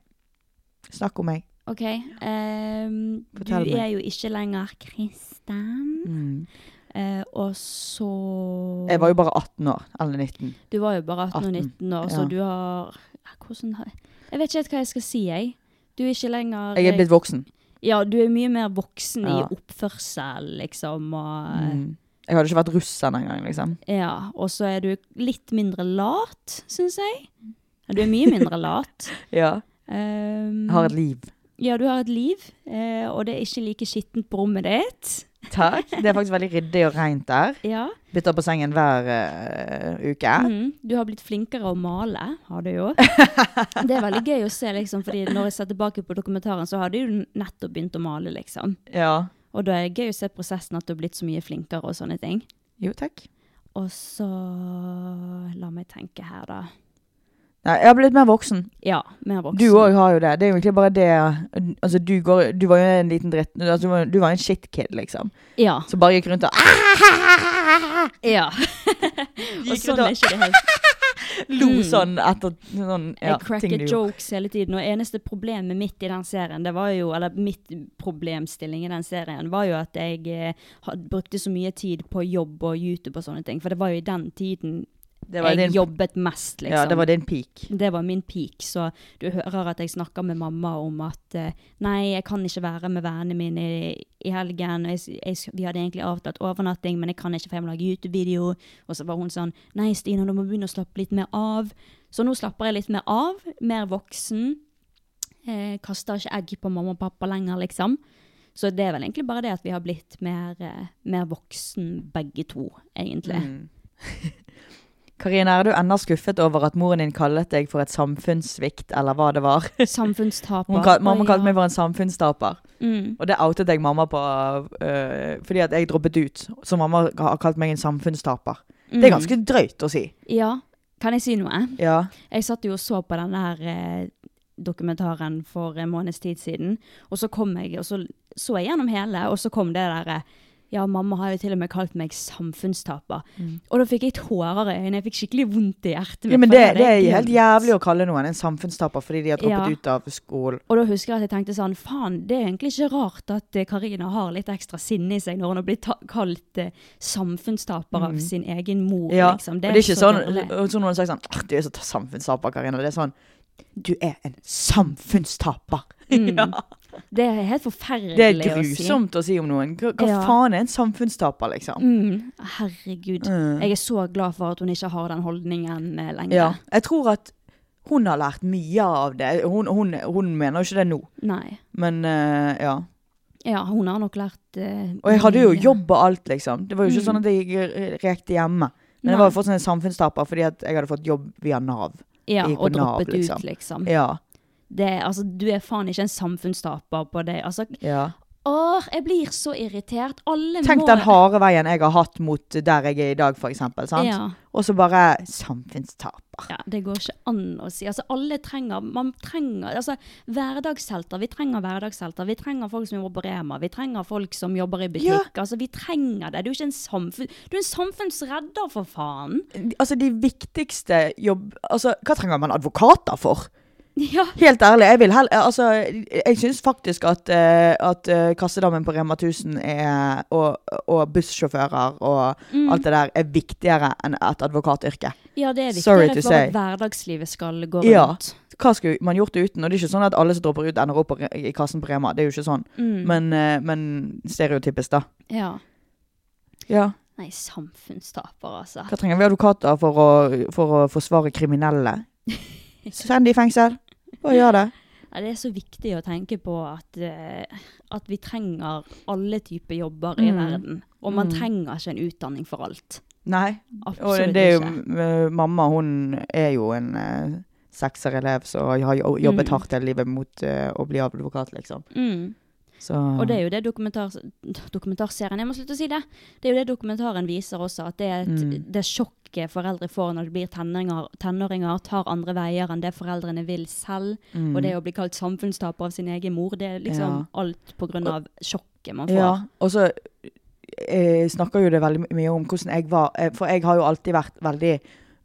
S2: Snakk om meg.
S1: OK. ehm, du
S2: Fortell meg.
S1: er jo ikke lenger kristen.
S2: Mm.
S1: Eh, og så
S2: Jeg var jo bare 18 år. Eller 19.
S1: Du var jo bare 18 og
S2: 18,
S1: 19 år, så
S2: ja.
S1: du har ja, Hvordan har Jeg vet ikke helt hva jeg skal si, jeg. Du er ikke lenger
S2: Jeg er blitt voksen.
S1: Ja, du er mye mer voksen
S2: Ja.
S1: i oppførsel, liksom, og
S2: Mm. Jeg hadde ikke vært russen engang, liksom.
S1: Ja. Og så er du litt mindre lat, syns jeg. Ja, Du er mye mindre lat.
S2: Ja.
S1: Um,
S2: Jeg har et liv.
S1: Ja, du har et liv, eh, og det er ikke like skittent på rommet ditt.
S2: Takk. Det er faktisk veldig ryddig og rent der.
S1: Ja.
S2: Bytter på sengen hver eh, uke.
S1: Mhm. Du har blitt flinkere å male, har du jo. Det er veldig gøy å se, liksom, fordi når jeg ser tilbake på dokumentaren, så har du jo nettopp begynt å male, liksom.
S2: Ja.
S1: Og da er det gøy å se prosessen at du har blitt så mye flinkere og sånne ting.
S2: Jo, takk.
S1: Og så La meg tenke her, da.
S2: Nei, jeg har blitt mer voksen.
S1: Ja, mer voksen.
S2: Du òg har jo det. Det er jo egentlig bare det Altså, du, går, du var jo en liten dritt... Altså, du, var, du var en shitkid, liksom.
S1: Ja.
S2: Som bare gikk rundt og
S1: ja. Og sånn er ikke det helt.
S2: Lo
S1: Mm.
S2: sånn etter sånn ja,
S1: Jeg cracket jokes hele tiden, og eneste problemet mitt i den serien, det var jo, eller mitt problemstilling i den serien, var jo at jeg eh, had- brukte så mye tid på jobb og YouTube og sånne ting, for det var jo i den tiden
S2: Det
S1: jeg
S2: var din,
S1: jobbet mest, liksom.
S2: Ja, det var din peak.
S1: Det var min peak, så du hører at jeg snakker med mamma om at eh, nei, jeg kan ikke være med vennene mine i, i helgen. og Jeg, s- jeg, s- vi hadde egentlig avtalt overnatting, men jeg kan ikke for jeg må lage YouTube-video. Og så var hun sånn nei, Stina, du må begynne å slappe litt mer av. Så nå slapper jeg litt mer av, mer voksen. Eh, kaster ikke egg på mamma og pappa lenger, liksom. Så det er vel egentlig bare det at vi har blitt mer, eh, mer voksen begge to, egentlig.
S2: Mm. Karina, er du ennå skuffet over at moren din kallet deg for et samfunnssvikt, eller hva det var?
S1: Samfunnstaper.
S2: Hun kal mamma
S1: Å,
S2: kalte
S1: ja.
S2: meg for en samfunnstaper,
S1: mm.
S2: og det outet jeg mamma på øh, fordi at jeg droppet ut. Så mamma har kalt meg en samfunnstaper. Det
S1: mm.
S2: er ganske drøyt å si.
S1: Ja. Kan jeg si noe?
S2: Mm. Ja.
S1: Jeg satt jo og så på denne her eh, dokumentaren for en måneds tid siden, og så kom jeg, og så så jeg gjennom hele, og så kom det der eh, ja, mamma har jo til og med kalt meg samfunnstaper. Og da fikk jeg tårer i øynene. Jeg fikk skikkelig vondt i hjertet.
S2: Mm.
S1: mitt,
S2: ja, men
S1: for
S2: det,
S1: hadde
S2: det er
S1: jeg
S2: helt
S1: glemt.
S2: jævlig å kalle noen en samfunnstaper fordi de har
S1: Ja.
S2: droppet ut av skolen.
S1: Og da husker jeg at jeg tenkte sånn, faen, det er egentlig ikke rart at eh, Karina har litt ekstra sinne i seg når hun har blitt ta kalt eh, samfunnstaper av sin egen mor,
S2: Mm. Ja,
S1: liksom.
S2: og det er ikke sånn,
S1: dårlig.
S2: og så noen har sagt sånn «Åh, Du er så samfunnstaper, Karina. Det er sånn Du er en samfunnstaper! ja.
S1: Det er helt forferdelig å si.
S2: Det er grusomt å si om noen. Hva, hva
S1: Ja.
S2: faen er en samfunnstaper, liksom?
S1: Mm, herregud. Jeg er så glad for at hun ikke har den holdningen eh, lenger.
S2: Mm. Ja. Jeg tror at hun har lært mye av det. Hun, hun, hun mener jo ikke det nå,
S1: Nei.
S2: men eh, ja.
S1: Ja, hun har nok lært eh,
S2: Og jeg hadde jo
S1: mye.
S2: jobb og alt, liksom. Det var jo ikke
S1: Mm.
S2: sånn at jeg rekte hjemme. Men
S1: Nei.
S2: jeg var jo fortsatt en samfunnstaper fordi at jeg hadde fått jobb via Nav.
S1: ja,
S2: gikk på
S1: og
S2: Nav,
S1: droppet
S2: liksom.
S1: ut, liksom.
S2: Ja.
S1: Det, er- altså, du er faen ikke en samfunnstaper på det. Altså,
S2: ja.
S1: åh, jeg blir så irritert. Alle
S2: Tenk
S1: må
S2: den harde veien jeg har hatt mot der jeg er i dag, for eksempel. Sant?
S1: Ja.
S2: Og så bare samfunnstaper.
S1: Ja, det går ikke an å si. Altså, alle trenger Man trenger altså, hverdagshelter. Vi trenger hverdagshelter. Vi trenger folk som jobber på Rema. Vi trenger folk som jobber i butikk. Altså, vi trenger det. Du er ikke en samfunn... Du er en samfunnsredder, for faen!
S2: Altså, de viktigste jobb... Altså, hva trenger man advokater for?
S1: Ja.
S2: Helt ærlig, jeg vil heller Altså, jeg syns faktisk at, eh, at eh, kassedamen på Rema 1000 er, og, og bussjåfører og
S1: Mm.
S2: alt det der er viktigere enn et advokatyrke.
S1: Ja, det er
S2: Sorry
S1: viktigere
S2: to
S1: for
S2: say.
S1: at hverdagslivet skal gå
S2: Ja.
S1: rundt.
S2: Hva skulle man gjort det uten? Og det er ikke sånn at alle som dropper ut, ender opp på Re- i kassen på Rema. Det er jo ikke sånn.
S1: Mm.
S2: Men, eh, men stereotypisk, da.
S1: Ja.
S2: Ja.
S1: Nei, samfunnstaper, altså.
S2: Hva trenger vi advokater for å, for å forsvare kriminelle? Send de i fengsel. Bare gjør det.
S1: Ja, det er så viktig å tenke på at, eh, at vi trenger alle typer jobber i
S2: Mm.
S1: verden. Og man
S2: Mm.
S1: trenger ikke en utdanning for alt.
S2: Nei. Og
S1: Absolutt
S2: det er jo,
S1: ikke.
S2: m- mamma hun er jo en eh, sekserelev, så har jo jobbet
S1: Mm.
S2: hardt hele livet mot eh, å bli advokat, liksom.
S1: Mm.
S2: Så
S1: Og det er jo det dokumentar, dokumentarserien Jeg må slutte å si det. Det er jo det dokumentaren viser også, at det, er et,
S2: Mm.
S1: det sjokket foreldre får når de blir tenåringer, tenåringer, tar andre veier enn det foreldrene vil selv. Og det å bli kalt samfunnstaper av sin egen mor, det er liksom
S2: Mm. Ja.
S1: alt på grunn av sjokket man får.
S2: Ja. Og så eh, snakker jo det veldig my- mye om hvordan jeg var, eh, for jeg har jo alltid vært veldig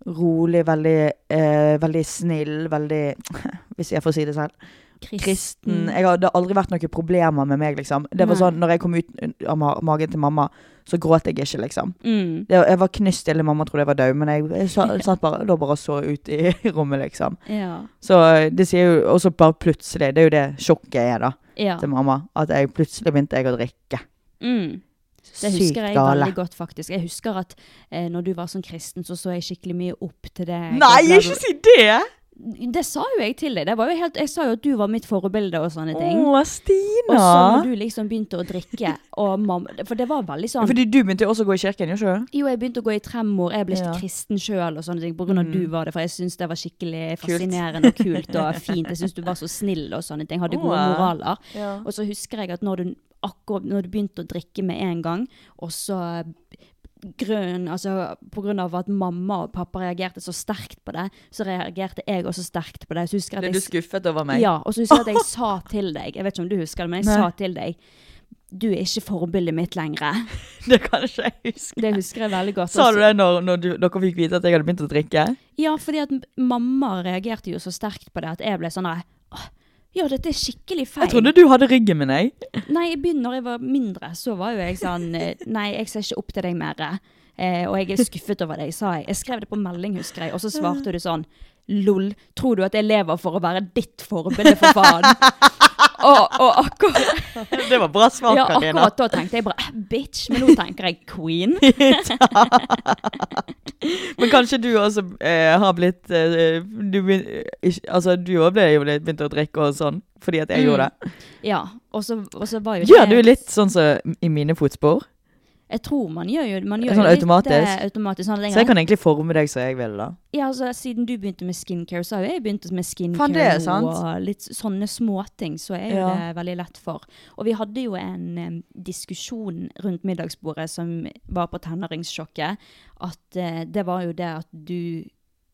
S2: rolig, veldig, eh, veldig snill, veldig Hvis jeg får si det selv. kristen.
S1: Mm.
S2: eh, Jeg har, det har aldri vært noen problemer med meg, liksom. Det var
S1: Nei.
S2: sånn, når jeg kom ut av ma- magen til mamma, så gråt jeg ikke, liksom.
S1: Mm.
S2: Det, jeg var knust stille, mamma trodde jeg var død, men jeg, jeg sa- satt bare, lå bare og så ut i rommet, liksom.
S1: Ja.
S2: Så eh, det sier jo også bare plutselig, det er jo det sjokket er da,
S1: ja.
S2: til mamma, at jeg plutselig begynte jeg å drikke.
S1: Mm. Det
S2: Sykt
S1: husker jeg
S2: gale.
S1: veldig godt, faktisk. Jeg husker at eh, når du var sånn kristen, så så jeg skikkelig mye opp til det.
S2: Nei, ikke si det!
S1: Det sa jo jeg til deg. Det var jo helt, jeg sa jo at du var mitt forbilde og sånne ting.
S2: Åh,
S1: Og
S2: Stina!
S1: så når du liksom begynte å drikke, og mamma, for det var veldig sånn
S2: Fordi du begynte jo også å gå i kirken, jo ikke? du?
S1: Jo, jeg begynte å gå i tremor, jeg ble
S2: Ja. Mm.
S1: kristen sjøl og sånne ting, på grunn av du var det, for jeg syntes det var skikkelig
S2: Kult.
S1: fascinerende og kult og fint. Jeg syntes du var så snill og sånne ting, hadde gode
S2: Åh.
S1: moraler. Og så husker jeg at når du, akkurat, når du begynte å drikke med en gang, og så grunn, altså på grunn av at mamma og pappa reagerte så sterkt på det, så reagerte jeg også sterkt på det. Så husker jeg at
S2: Ble
S1: jeg
S2: du skuffet over meg?
S1: ja, og så husker jeg at jeg sa til deg, jeg vet ikke om du husker det, men jeg
S2: Nei.
S1: sa til deg Du er ikke forbildet mitt lenger.
S2: Det kan ikke jeg huske.
S1: Det husker jeg veldig godt.
S2: Sa
S1: Og
S2: du
S1: så-
S2: det når, når du, dere fikk vite at jeg hadde begynt å drikke?
S1: Ja, fordi at m- mamma reagerte jo så sterkt på det at jeg ble sånn der «Åh, Ja, dette er skikkelig feil.
S2: Jeg trodde du hadde ryggen min, jeg.
S1: Nei, jeg begynner, når jeg var mindre, så var jo jeg sånn eh, Nei, jeg ser ikke opp til deg mer. Eh, og jeg er skuffet over deg, sa jeg. Jeg skrev det på melding, husker jeg. Og så svarte du sånn Lol, tror du at jeg lever for å være ditt forbilde, for faen? og, og akkurat,
S2: Det var bra svar,
S1: ja,
S2: Karina.
S1: akkurat da tenkte jeg bare «Eh, Bitch, men nå tenker jeg queen.
S2: Men kanskje du også eh, har blitt eh, du, begyn- eh, ikke- Altså, du òg ble jo litt begynt å drikke og sånn fordi at jeg
S1: Mm.
S2: gjorde det.
S1: Ja, og så, og så var jo
S2: Gjør du litt sånn som i mine fotspor?
S1: Jeg tror man gjør jo man gjør
S2: Sånn
S1: jo litt, eh,
S2: automatisk?
S1: automatisk sånn at jeg
S2: Så jeg kan egentlig forme deg som jeg vil, da.
S1: Ja, altså Siden du begynte med skincare, så har jo jeg begynt med skincare
S2: Faen, det er sant.
S1: nå, og litt sånne småting. Så er jo
S2: Ja.
S1: det veldig lett for. Og vi hadde jo en em, diskusjon rundt middagsbordet som var på tenåringssjokket, at eh, det var jo det at du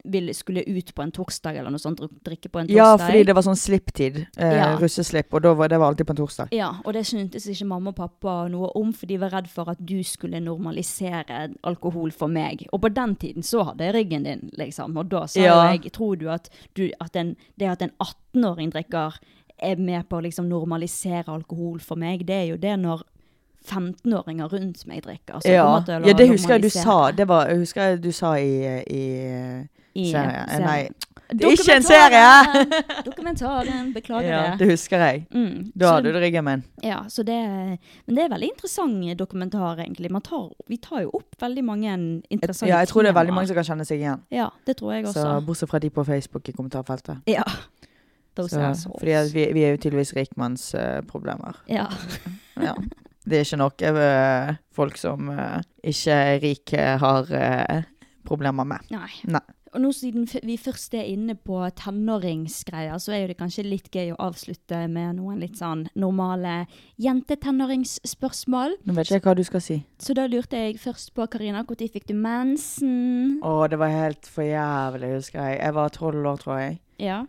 S1: ville, skulle ut på en torsdag eller noe sånt, dru- drikke på en torsdag.
S2: Ja, fordi det var sånn slipptid. Eh,
S1: Ja.
S2: Russeslipp. Og da var, det var alltid på en torsdag.
S1: Ja, og det syntes ikke mamma og pappa noe om, for de var redd for at du skulle normalisere alkohol for meg. Og på den tiden så hadde jeg ryggen din, liksom. Og da sa jo
S2: Ja.
S1: jeg, tror du at, du, at en, det at en 18-åring drikker er med på å liksom normalisere alkohol for meg, det er jo det når 15-åringer rundt meg drikker. så jeg
S2: Ja.
S1: kommer til å
S2: ja, det husker jeg du
S1: normalisere
S2: sa. Det var, jeg husker jeg du sa i, eh, i
S1: i
S2: serie.
S1: serien.
S2: Nei, det er ikke en serie!
S1: Dokumentaren! Dokumentaren, beklager
S2: Ja,
S1: det.
S2: det husker jeg.
S1: Mm, så-
S2: Da hadde du ryggen min.
S1: Ja, så det, men det er veldig interessant dokumentar, egentlig. Man tar, vi tar jo opp veldig mange interessante
S2: Ja, jeg tror det er veldig
S1: temaer.
S2: mange som kan kjenne seg igjen.
S1: Ja, det tror jeg også.
S2: Så, bortsett fra de på Facebook i kommentarfeltet.
S1: ja. Those
S2: Så,
S1: assholes.
S2: fordi at vi, vi er jo tydeligvis rikmannsproblemer.
S1: Ja.
S2: ja. Det er ikke nok eh, folk som eh, ikke er rike, har eh, problemer med.
S1: Nei.
S2: Nei.
S1: Og nå siden f- vi først er inne på tenåringsgreier, så er jo det kanskje litt gøy å avslutte med noen litt sånn normale jentetenåringsspørsmål.
S2: Nå vet ikke jeg hva du skal si.
S1: Så da lurte jeg først på, Karina, når fikk du mensen?
S2: Å, det var helt for jævlig, husker jeg. Jeg var tolv år, tror jeg.
S1: Ja.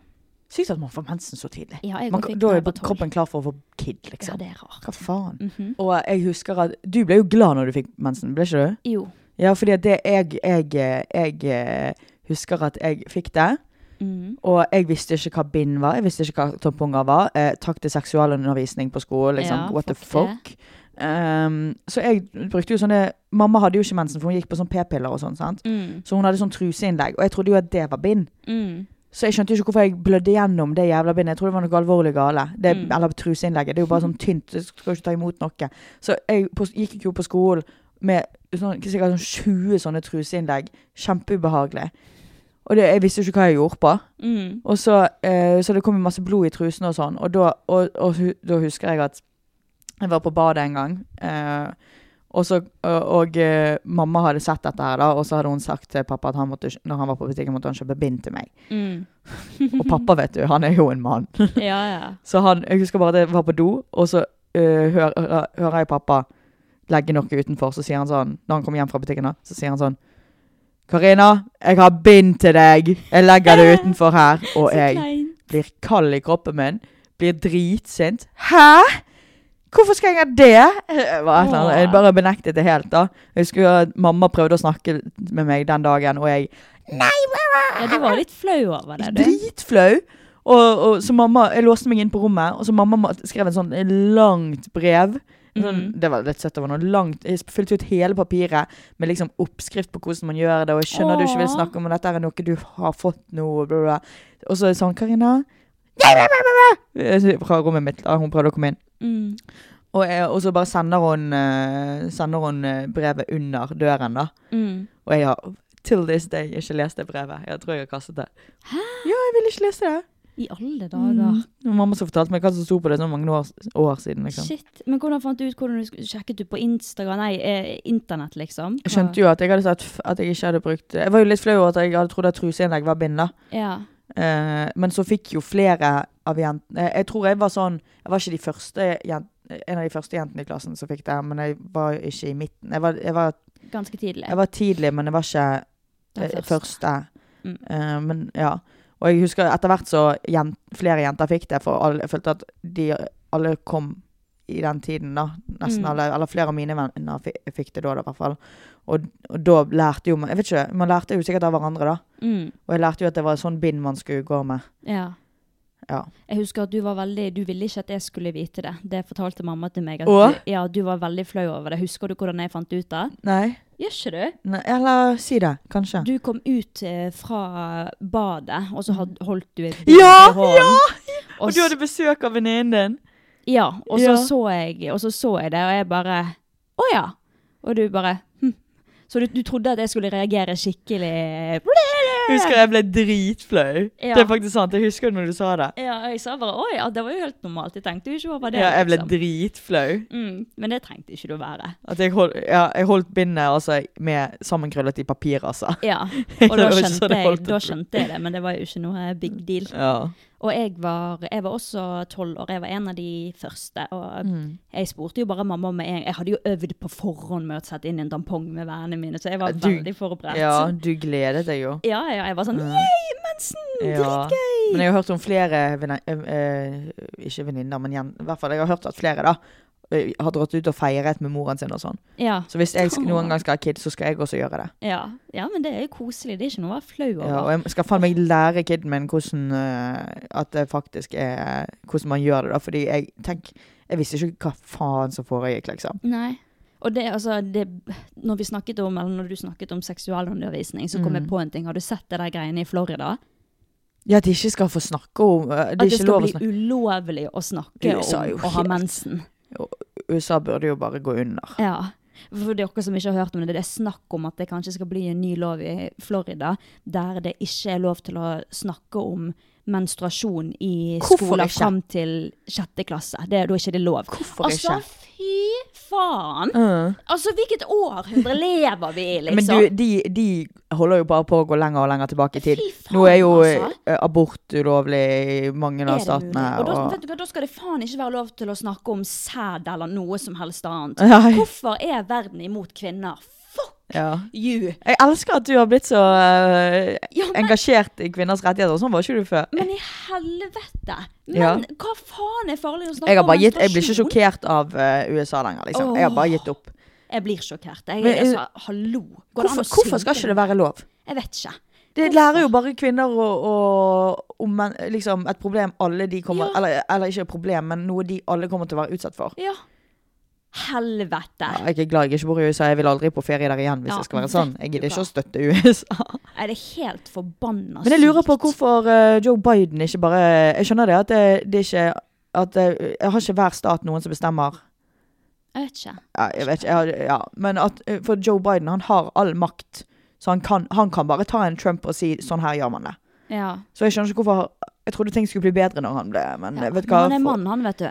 S2: Sykt at man får mensen så tidlig.
S1: ja jeg
S2: Man,
S1: fikk
S2: da
S1: det
S2: er
S1: på tolv.
S2: kroppen klar for å få kid,
S1: Ja,
S2: liksom.
S1: det er rart.
S2: Hva faen?
S1: Mhm.
S2: Og jeg husker at du ble jo glad når du fikk mensen, ble ikke du?
S1: Jo.
S2: Ja, fordi at det jeg, jeg, jeg eh, husker at jeg fikk det.
S1: Mhm.
S2: Og jeg visste ikke hva bind var, jeg visste ikke hva tamponger var. Eh, takk til seksualundervisning på skolen, liksom.
S1: Ja,
S2: What the
S1: fuck
S2: fuck? Ehm, så jeg brukte jo sånne Mamma hadde jo ikke mensen, for hun gikk på sånn p-piller og sånn. sant?
S1: Mm.
S2: Så hun hadde sånn truseinnlegg, og jeg trodde jo at det var bind.
S1: Mm.
S2: Så jeg skjønte jo ikke hvorfor jeg blødde gjennom det jævla bindet. Jeg trodde det var noe alvorlig gale. Det,
S1: Mm.
S2: Eller truseinnlegget. Det er jo bare sånn tynt, det skal jo ikke ta imot noe. Så jeg på, gikk jo på skolen med sånn, sikkert sånn 20 sånne truseinnlegg. Kjempeubehagelig. Og det, jeg visste jo ikke hva jeg gjorde på.
S1: Mm.
S2: Og så, eh, så det kom jo masse blod i trusene og sånn. Og da, og, og, hu- da husker jeg at jeg var på badet en gang. Eh, og så, og, og eh, mamma hadde sett dette her, da, og så hadde hun sagt til pappa at han måtte, når han var på butikken, måtte han kjøpe bind til meg.
S1: Mm.
S2: Og pappa, vet du, han er jo en mann.
S1: Ja, ja.
S2: Så han, jeg husker bare at jeg var på do, og så eh, hører, hører jeg pappa legge noe utenfor. Så sier han sånn, når han kommer hjem fra butikken, da, så sier han sånn Karina, jeg har bind til deg! Jeg legger det utenfor her. Og jeg
S1: klein.
S2: blir kald i kroppen min, blir dritsint. Hæ?! Hvorfor skal jeg ha det?! Eh, Jeg, var et eller annet. jeg bare benektet det helt, da. Jeg husker at mamma prøvde å snakke med meg den dagen, og jeg Nei,
S1: Ja, du var litt flau over det, du.
S2: Dritflau! Og, og, så mamma, jeg låste meg inn på rommet, og så mamma må- skrev en sånn langt brev. Sånn,
S1: Mhm.
S2: Det var litt søtt. Det var noe langt. Jeg fylte ut hele papiret med liksom oppskrift på hvordan man gjør det. Og jeg skjønner du ikke vil
S1: Åh.
S2: snakke om og dette er noe du har fått nå. og Bla, bla. Og så er det sånn, Karina Bla, bla, bla, bla, bla. Fra rommet mitt. da Hun prøvde å komme inn.
S1: Mm.
S2: Og, jeg, og så bare sender hun, eh, sender hun eh, brevet under døren, da.
S1: Mm.
S2: Og jeg har til this day ikke lest det brevet. Jeg tror jeg har kastet det. Ja, jeg ville ikke lese det.
S1: I alle dager.
S2: Det var Mm. Mamma som fortalte meg hva som sto på det så mange år, år siden. liksom.
S1: Shit. Men hvordan fant du ut hvordan du sk- sjekket du på Instagram? Nei, eh, internett, liksom?
S2: Jeg skjønte jo at jeg hadde sagt f- at jeg ikke hadde brukt Jeg var jo litt flau over at jeg hadde trodd at truseinnlegg var bind, da.
S1: Ja.
S2: Eh, men så fikk jo flere av jentene eh, Jeg tror jeg var sånn Jeg var ikke de første jen- en av de første jentene i klassen som fikk det, men jeg var ikke i midten. Jeg var, jeg var,
S1: Ganske tidlig.
S2: jeg var tidlig, men jeg var ikke eh,
S1: Den
S2: første.
S1: Mm.
S2: Eh, men ja. Og jeg husker etter hvert så jen, flere jenter fikk det, for alle, jeg følte at de alle kom i den tiden, da. Nesten
S1: Mm.
S2: alle, eller flere av mine venner fikk, fikk det da, da, i hvert fall. Og, og da lærte jo man Jeg vet ikke, man lærte jo sikkert av hverandre, da.
S1: Mm.
S2: Og jeg lærte jo at det var sånn bind man skulle gå med.
S1: Ja.
S2: Ja.
S1: Jeg husker at du var veldig Du ville ikke at jeg skulle vite det. Det fortalte mamma til meg. At
S2: Åh?
S1: du, ja, du var veldig flau over det. Husker du hvordan jeg fant ut det?
S2: Nei.
S1: Gjør ikke du?
S2: Nei eller si det, kanskje.
S1: Du kom ut eh, fra badet, og så had, holdt du et bind
S2: ja!
S1: i hånden.
S2: Ja!
S1: Og
S2: Og du hadde besøk av venninnen din.
S1: Ja, og så,
S2: Ja.
S1: Så jeg, og så så jeg det, og jeg bare Å ja! Og du bare hm. Så du, du trodde at jeg skulle reagere skikkelig
S2: Husker jeg ble dritflau.
S1: Ja.
S2: Det er faktisk sant. Jeg husker når du sa det.
S1: Ja, og jeg sa bare å ja, det var jo helt normalt. Jeg tenkte jo ikke over det.
S2: Ja, jeg ble
S1: liksom.
S2: dritflau.
S1: mm, men det trengte ikke du å være.
S2: At jeg, hold, ja, jeg holdt bindet altså, med sammenkrøllet i papir, altså.
S1: Ja,
S2: Det
S1: og da
S2: var ikke sånn
S1: skjønte,
S2: jeg
S1: jeg,
S2: holdt
S1: da
S2: det.
S1: skjønte jeg det, men det var jo ikke noe big deal.
S2: Ja.
S1: Og jeg var, jeg var også tolv år, jeg var en av de første. Og jeg spurte jo bare mamma om jeg, jeg hadde jo øvd på forhånd med å sette inn en tampong med vennene mine, så jeg var
S2: Du-
S1: veldig forberedt.
S2: ja, du gledet deg jo.
S1: ja, ja, jeg var sånn Yay, mensen!
S2: Ja.
S1: Dritgøy!
S2: Men jeg har hørt om flere venni- øh, øh, Ikke venninner, men igjen, i hvert fall. Jeg har hørt at flere da øh, har dratt ut og feiret med moren sin og sånn.
S1: Ja,
S2: Så hvis jeg sk- noen gang skal ha kids, så skal jeg også gjøre det.
S1: ja, ja, men det er jo koselig. Det er ikke noe å være flau over.
S2: Ja, og jeg skal faen meg lære kiden min hvordan øh, At det faktisk er Hvordan man gjør det, da. Fordi jeg tenk, jeg visste ikke hva faen som foregikk, liksom.
S1: Nei. Og det, altså, det, når, vi snakket om, eller når du snakket om seksualundervisning, så kom
S2: Mm.
S1: jeg på en ting. Har du sett det der greiene i Florida?
S2: Ja, at de ikke skal få snakke om øh,
S1: At
S2: Det er
S1: det
S2: ikke
S1: skal
S2: lov å
S1: bli
S2: snakke
S1: ulovlig å snakke
S2: USA er jo
S1: om å ha
S2: helt-
S1: mensen.
S2: USA burde jo bare gå under.
S1: Ja. For dere som ikke har hørt om det, det er snakk om at det kanskje skal bli en ny lov i Florida der det ikke er lov til å snakke om menstruasjon i
S2: Hvorfor
S1: skoler
S2: ikke?
S1: fram til sjette klasse. Det, da er ikke det lov.
S2: Hvorfor
S1: altså,
S2: ikke?
S1: fy faen! Altså, hvilket århundre lever vi i,
S2: Men
S1: liksom?
S2: du, de, de holder jo bare på å gå lenger og lenger tilbake i tid.
S1: Fy faen,
S2: Nå er jo
S1: altså.
S2: eh, abort ulovlig i mange
S1: Er
S2: av
S1: det
S2: statene.
S1: mulig? Og da,
S2: og-
S1: vet du hva, da skal det faen ikke være lov til å snakke om sæd eller noe som helst annet.
S2: Nei.
S1: Hvorfor er verden imot kvinner? Fuck
S2: Ja.
S1: you!
S2: Jeg elsker at du har blitt så eh,
S1: Ja, men-
S2: engasjert i kvinners rettigheter. og Sånn var ikke du før.
S1: Men i helvete! Men
S2: Ja.
S1: hva faen er farlig å snakke om?
S2: Jeg, har bare gitt, jeg blir ikke
S1: menstruasjon?
S2: sjokkert av eh, USA lenger, liksom. Jeg har bare gitt opp.
S1: Jeg blir sjokkert. Jeg,
S2: Men, eh,
S1: altså, hallo. Går det an å
S2: Hvorfor, hvorfor skal
S1: synke
S2: ikke det være lov?
S1: Jeg vet ikke.
S2: Det lærer jo bare kvinner å, å, om men, liksom et problem alle de kommer
S1: Ja.
S2: eller, eller ikke et problem, men noe de alle kommer til å være utsatt for.
S1: Ja. Helvete.
S2: Ja, jeg er glad jeg ikke bor i USA. Jeg vil aldri på ferie der igjen hvis
S1: Ja,
S2: jeg skal være
S1: vet
S2: sånn.
S1: du
S2: Jeg gidder
S1: hva.
S2: ikke å støtte USA.
S1: Er det helt forbanna
S2: Men jeg lurer på
S1: sykt?
S2: hvorfor eh, Joe Biden ikke bare Jeg skjønner det at det, det er ikke at eh, jeg har ikke hver stat noen som bestemmer
S1: Jeg vet ikke.
S2: ja, Jeg vet ikke, jeg, har- ja. Men at eh, For Joe Biden, han har all makt. Så han kan, han kan bare ta en Trump og si 'sånn her gjør man det'.
S1: Ja.
S2: Så jeg skjønner ikke hvorfor Jeg trodde ting skulle bli bedre når han ble Men
S1: ja.
S2: eh, vet du hva?
S1: Men han er
S2: For-
S1: mann, han, vet du.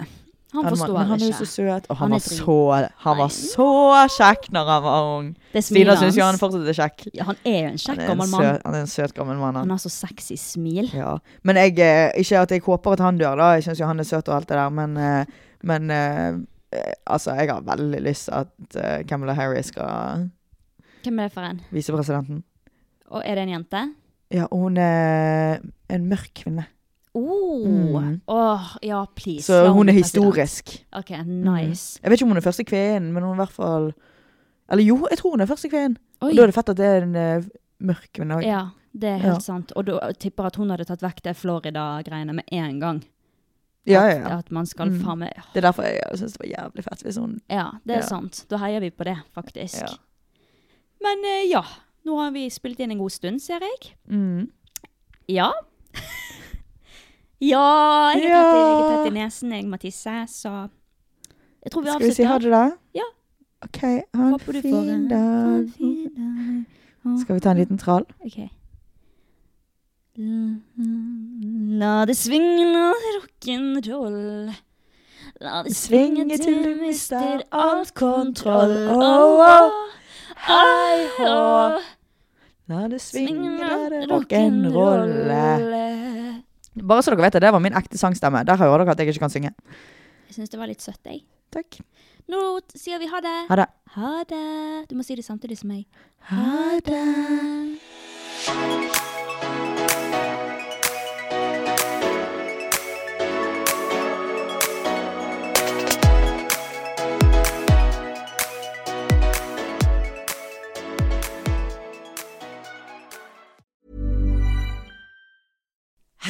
S1: Han
S2: er mann,
S1: forstår
S2: men han er jo
S1: ikke.
S2: så søt,
S1: Han
S2: og
S1: er
S2: han, var
S1: drit-
S2: så, han
S1: Nei.
S2: var så kjekk når han var ung.
S1: Det
S2: Stina
S1: smilet
S2: syns jo han
S1: hans.
S2: fortsatt er kjekk.
S1: Ja, han er jo en
S2: Han
S1: kjekk
S2: er en
S1: gammel mann. Mm.
S2: søt- han er en søt gammel mann. Han.
S1: Han har så sexy smil.
S2: Ja, men jeg, eh, ikke at jeg håper at han dør da, jeg synes jo han er søt og alt det der, men, eh, men eh, eh, altså, jeg har veldig lyst at eh, Kamala Harris skal
S1: Hvem er det for en?
S2: vise presidenten.
S1: Og er det en jente?
S2: Ja, og hun er en mørk kvinne,
S1: Åh,
S2: Mm.
S1: Oh. Åh, ja, please.
S2: så
S1: la
S2: hun er
S1: bli
S2: historisk.
S1: president. Ok, nice.
S2: Jeg vet ikke om hun er første kvinnen, men hun er i hvert fall, eller jo, jeg tror hun er første kvinnen.
S1: Oi,
S2: Og da er det fett at det er en eh, mørk kvinne. også.
S1: ja, det er
S2: Ja.
S1: helt sant. Og da jeg tipper at hun hadde tatt vekk det Florida-greiene med en gang.
S2: Ja, ja,
S1: At,
S2: ja.
S1: at man skal
S2: Mm.
S1: faen meg...
S2: Det er derfor jeg synes det var jævlig fett hvis hun...
S1: Ja, det er
S2: Ja.
S1: sant. Da heier vi på det, faktisk.
S2: Ja.
S1: Men eh, ja, nå har vi spilt inn en god stund, ser jeg.
S2: Mm.
S1: Ja. ja, jeg er,
S2: Ja.
S1: Tett, i- jeg er tett i nesen, jeg må tisse, så... Jeg tror vi
S2: Skal vi si ha
S1: avslutter.
S2: det da?
S1: Ja.
S2: Ok, ha en
S1: Håper du får
S2: fin
S1: en- Ha en
S2: dag.
S1: fin dag.
S2: Skal vi ta en liten trall?
S1: Ok. La det svinge av rock'n'roll. La det svinge til du mister alt kontroll. Åh, åh, ai, hå.
S2: La det svinge,
S1: Svinge
S2: la det
S1: av
S2: rock'n'rolle.
S1: rock'n'roll.
S2: Bare så dere vet det, det var min ekte sangstemme. Der hører dere at jeg ikke kan synge.
S1: Jeg syns det var litt søtt, jeg.
S2: Takk.
S1: Nå t- sier vi ha det.
S2: Ha det.
S1: Ha det. Du må si det samtidig som meg.
S2: Ha det.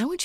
S4: Would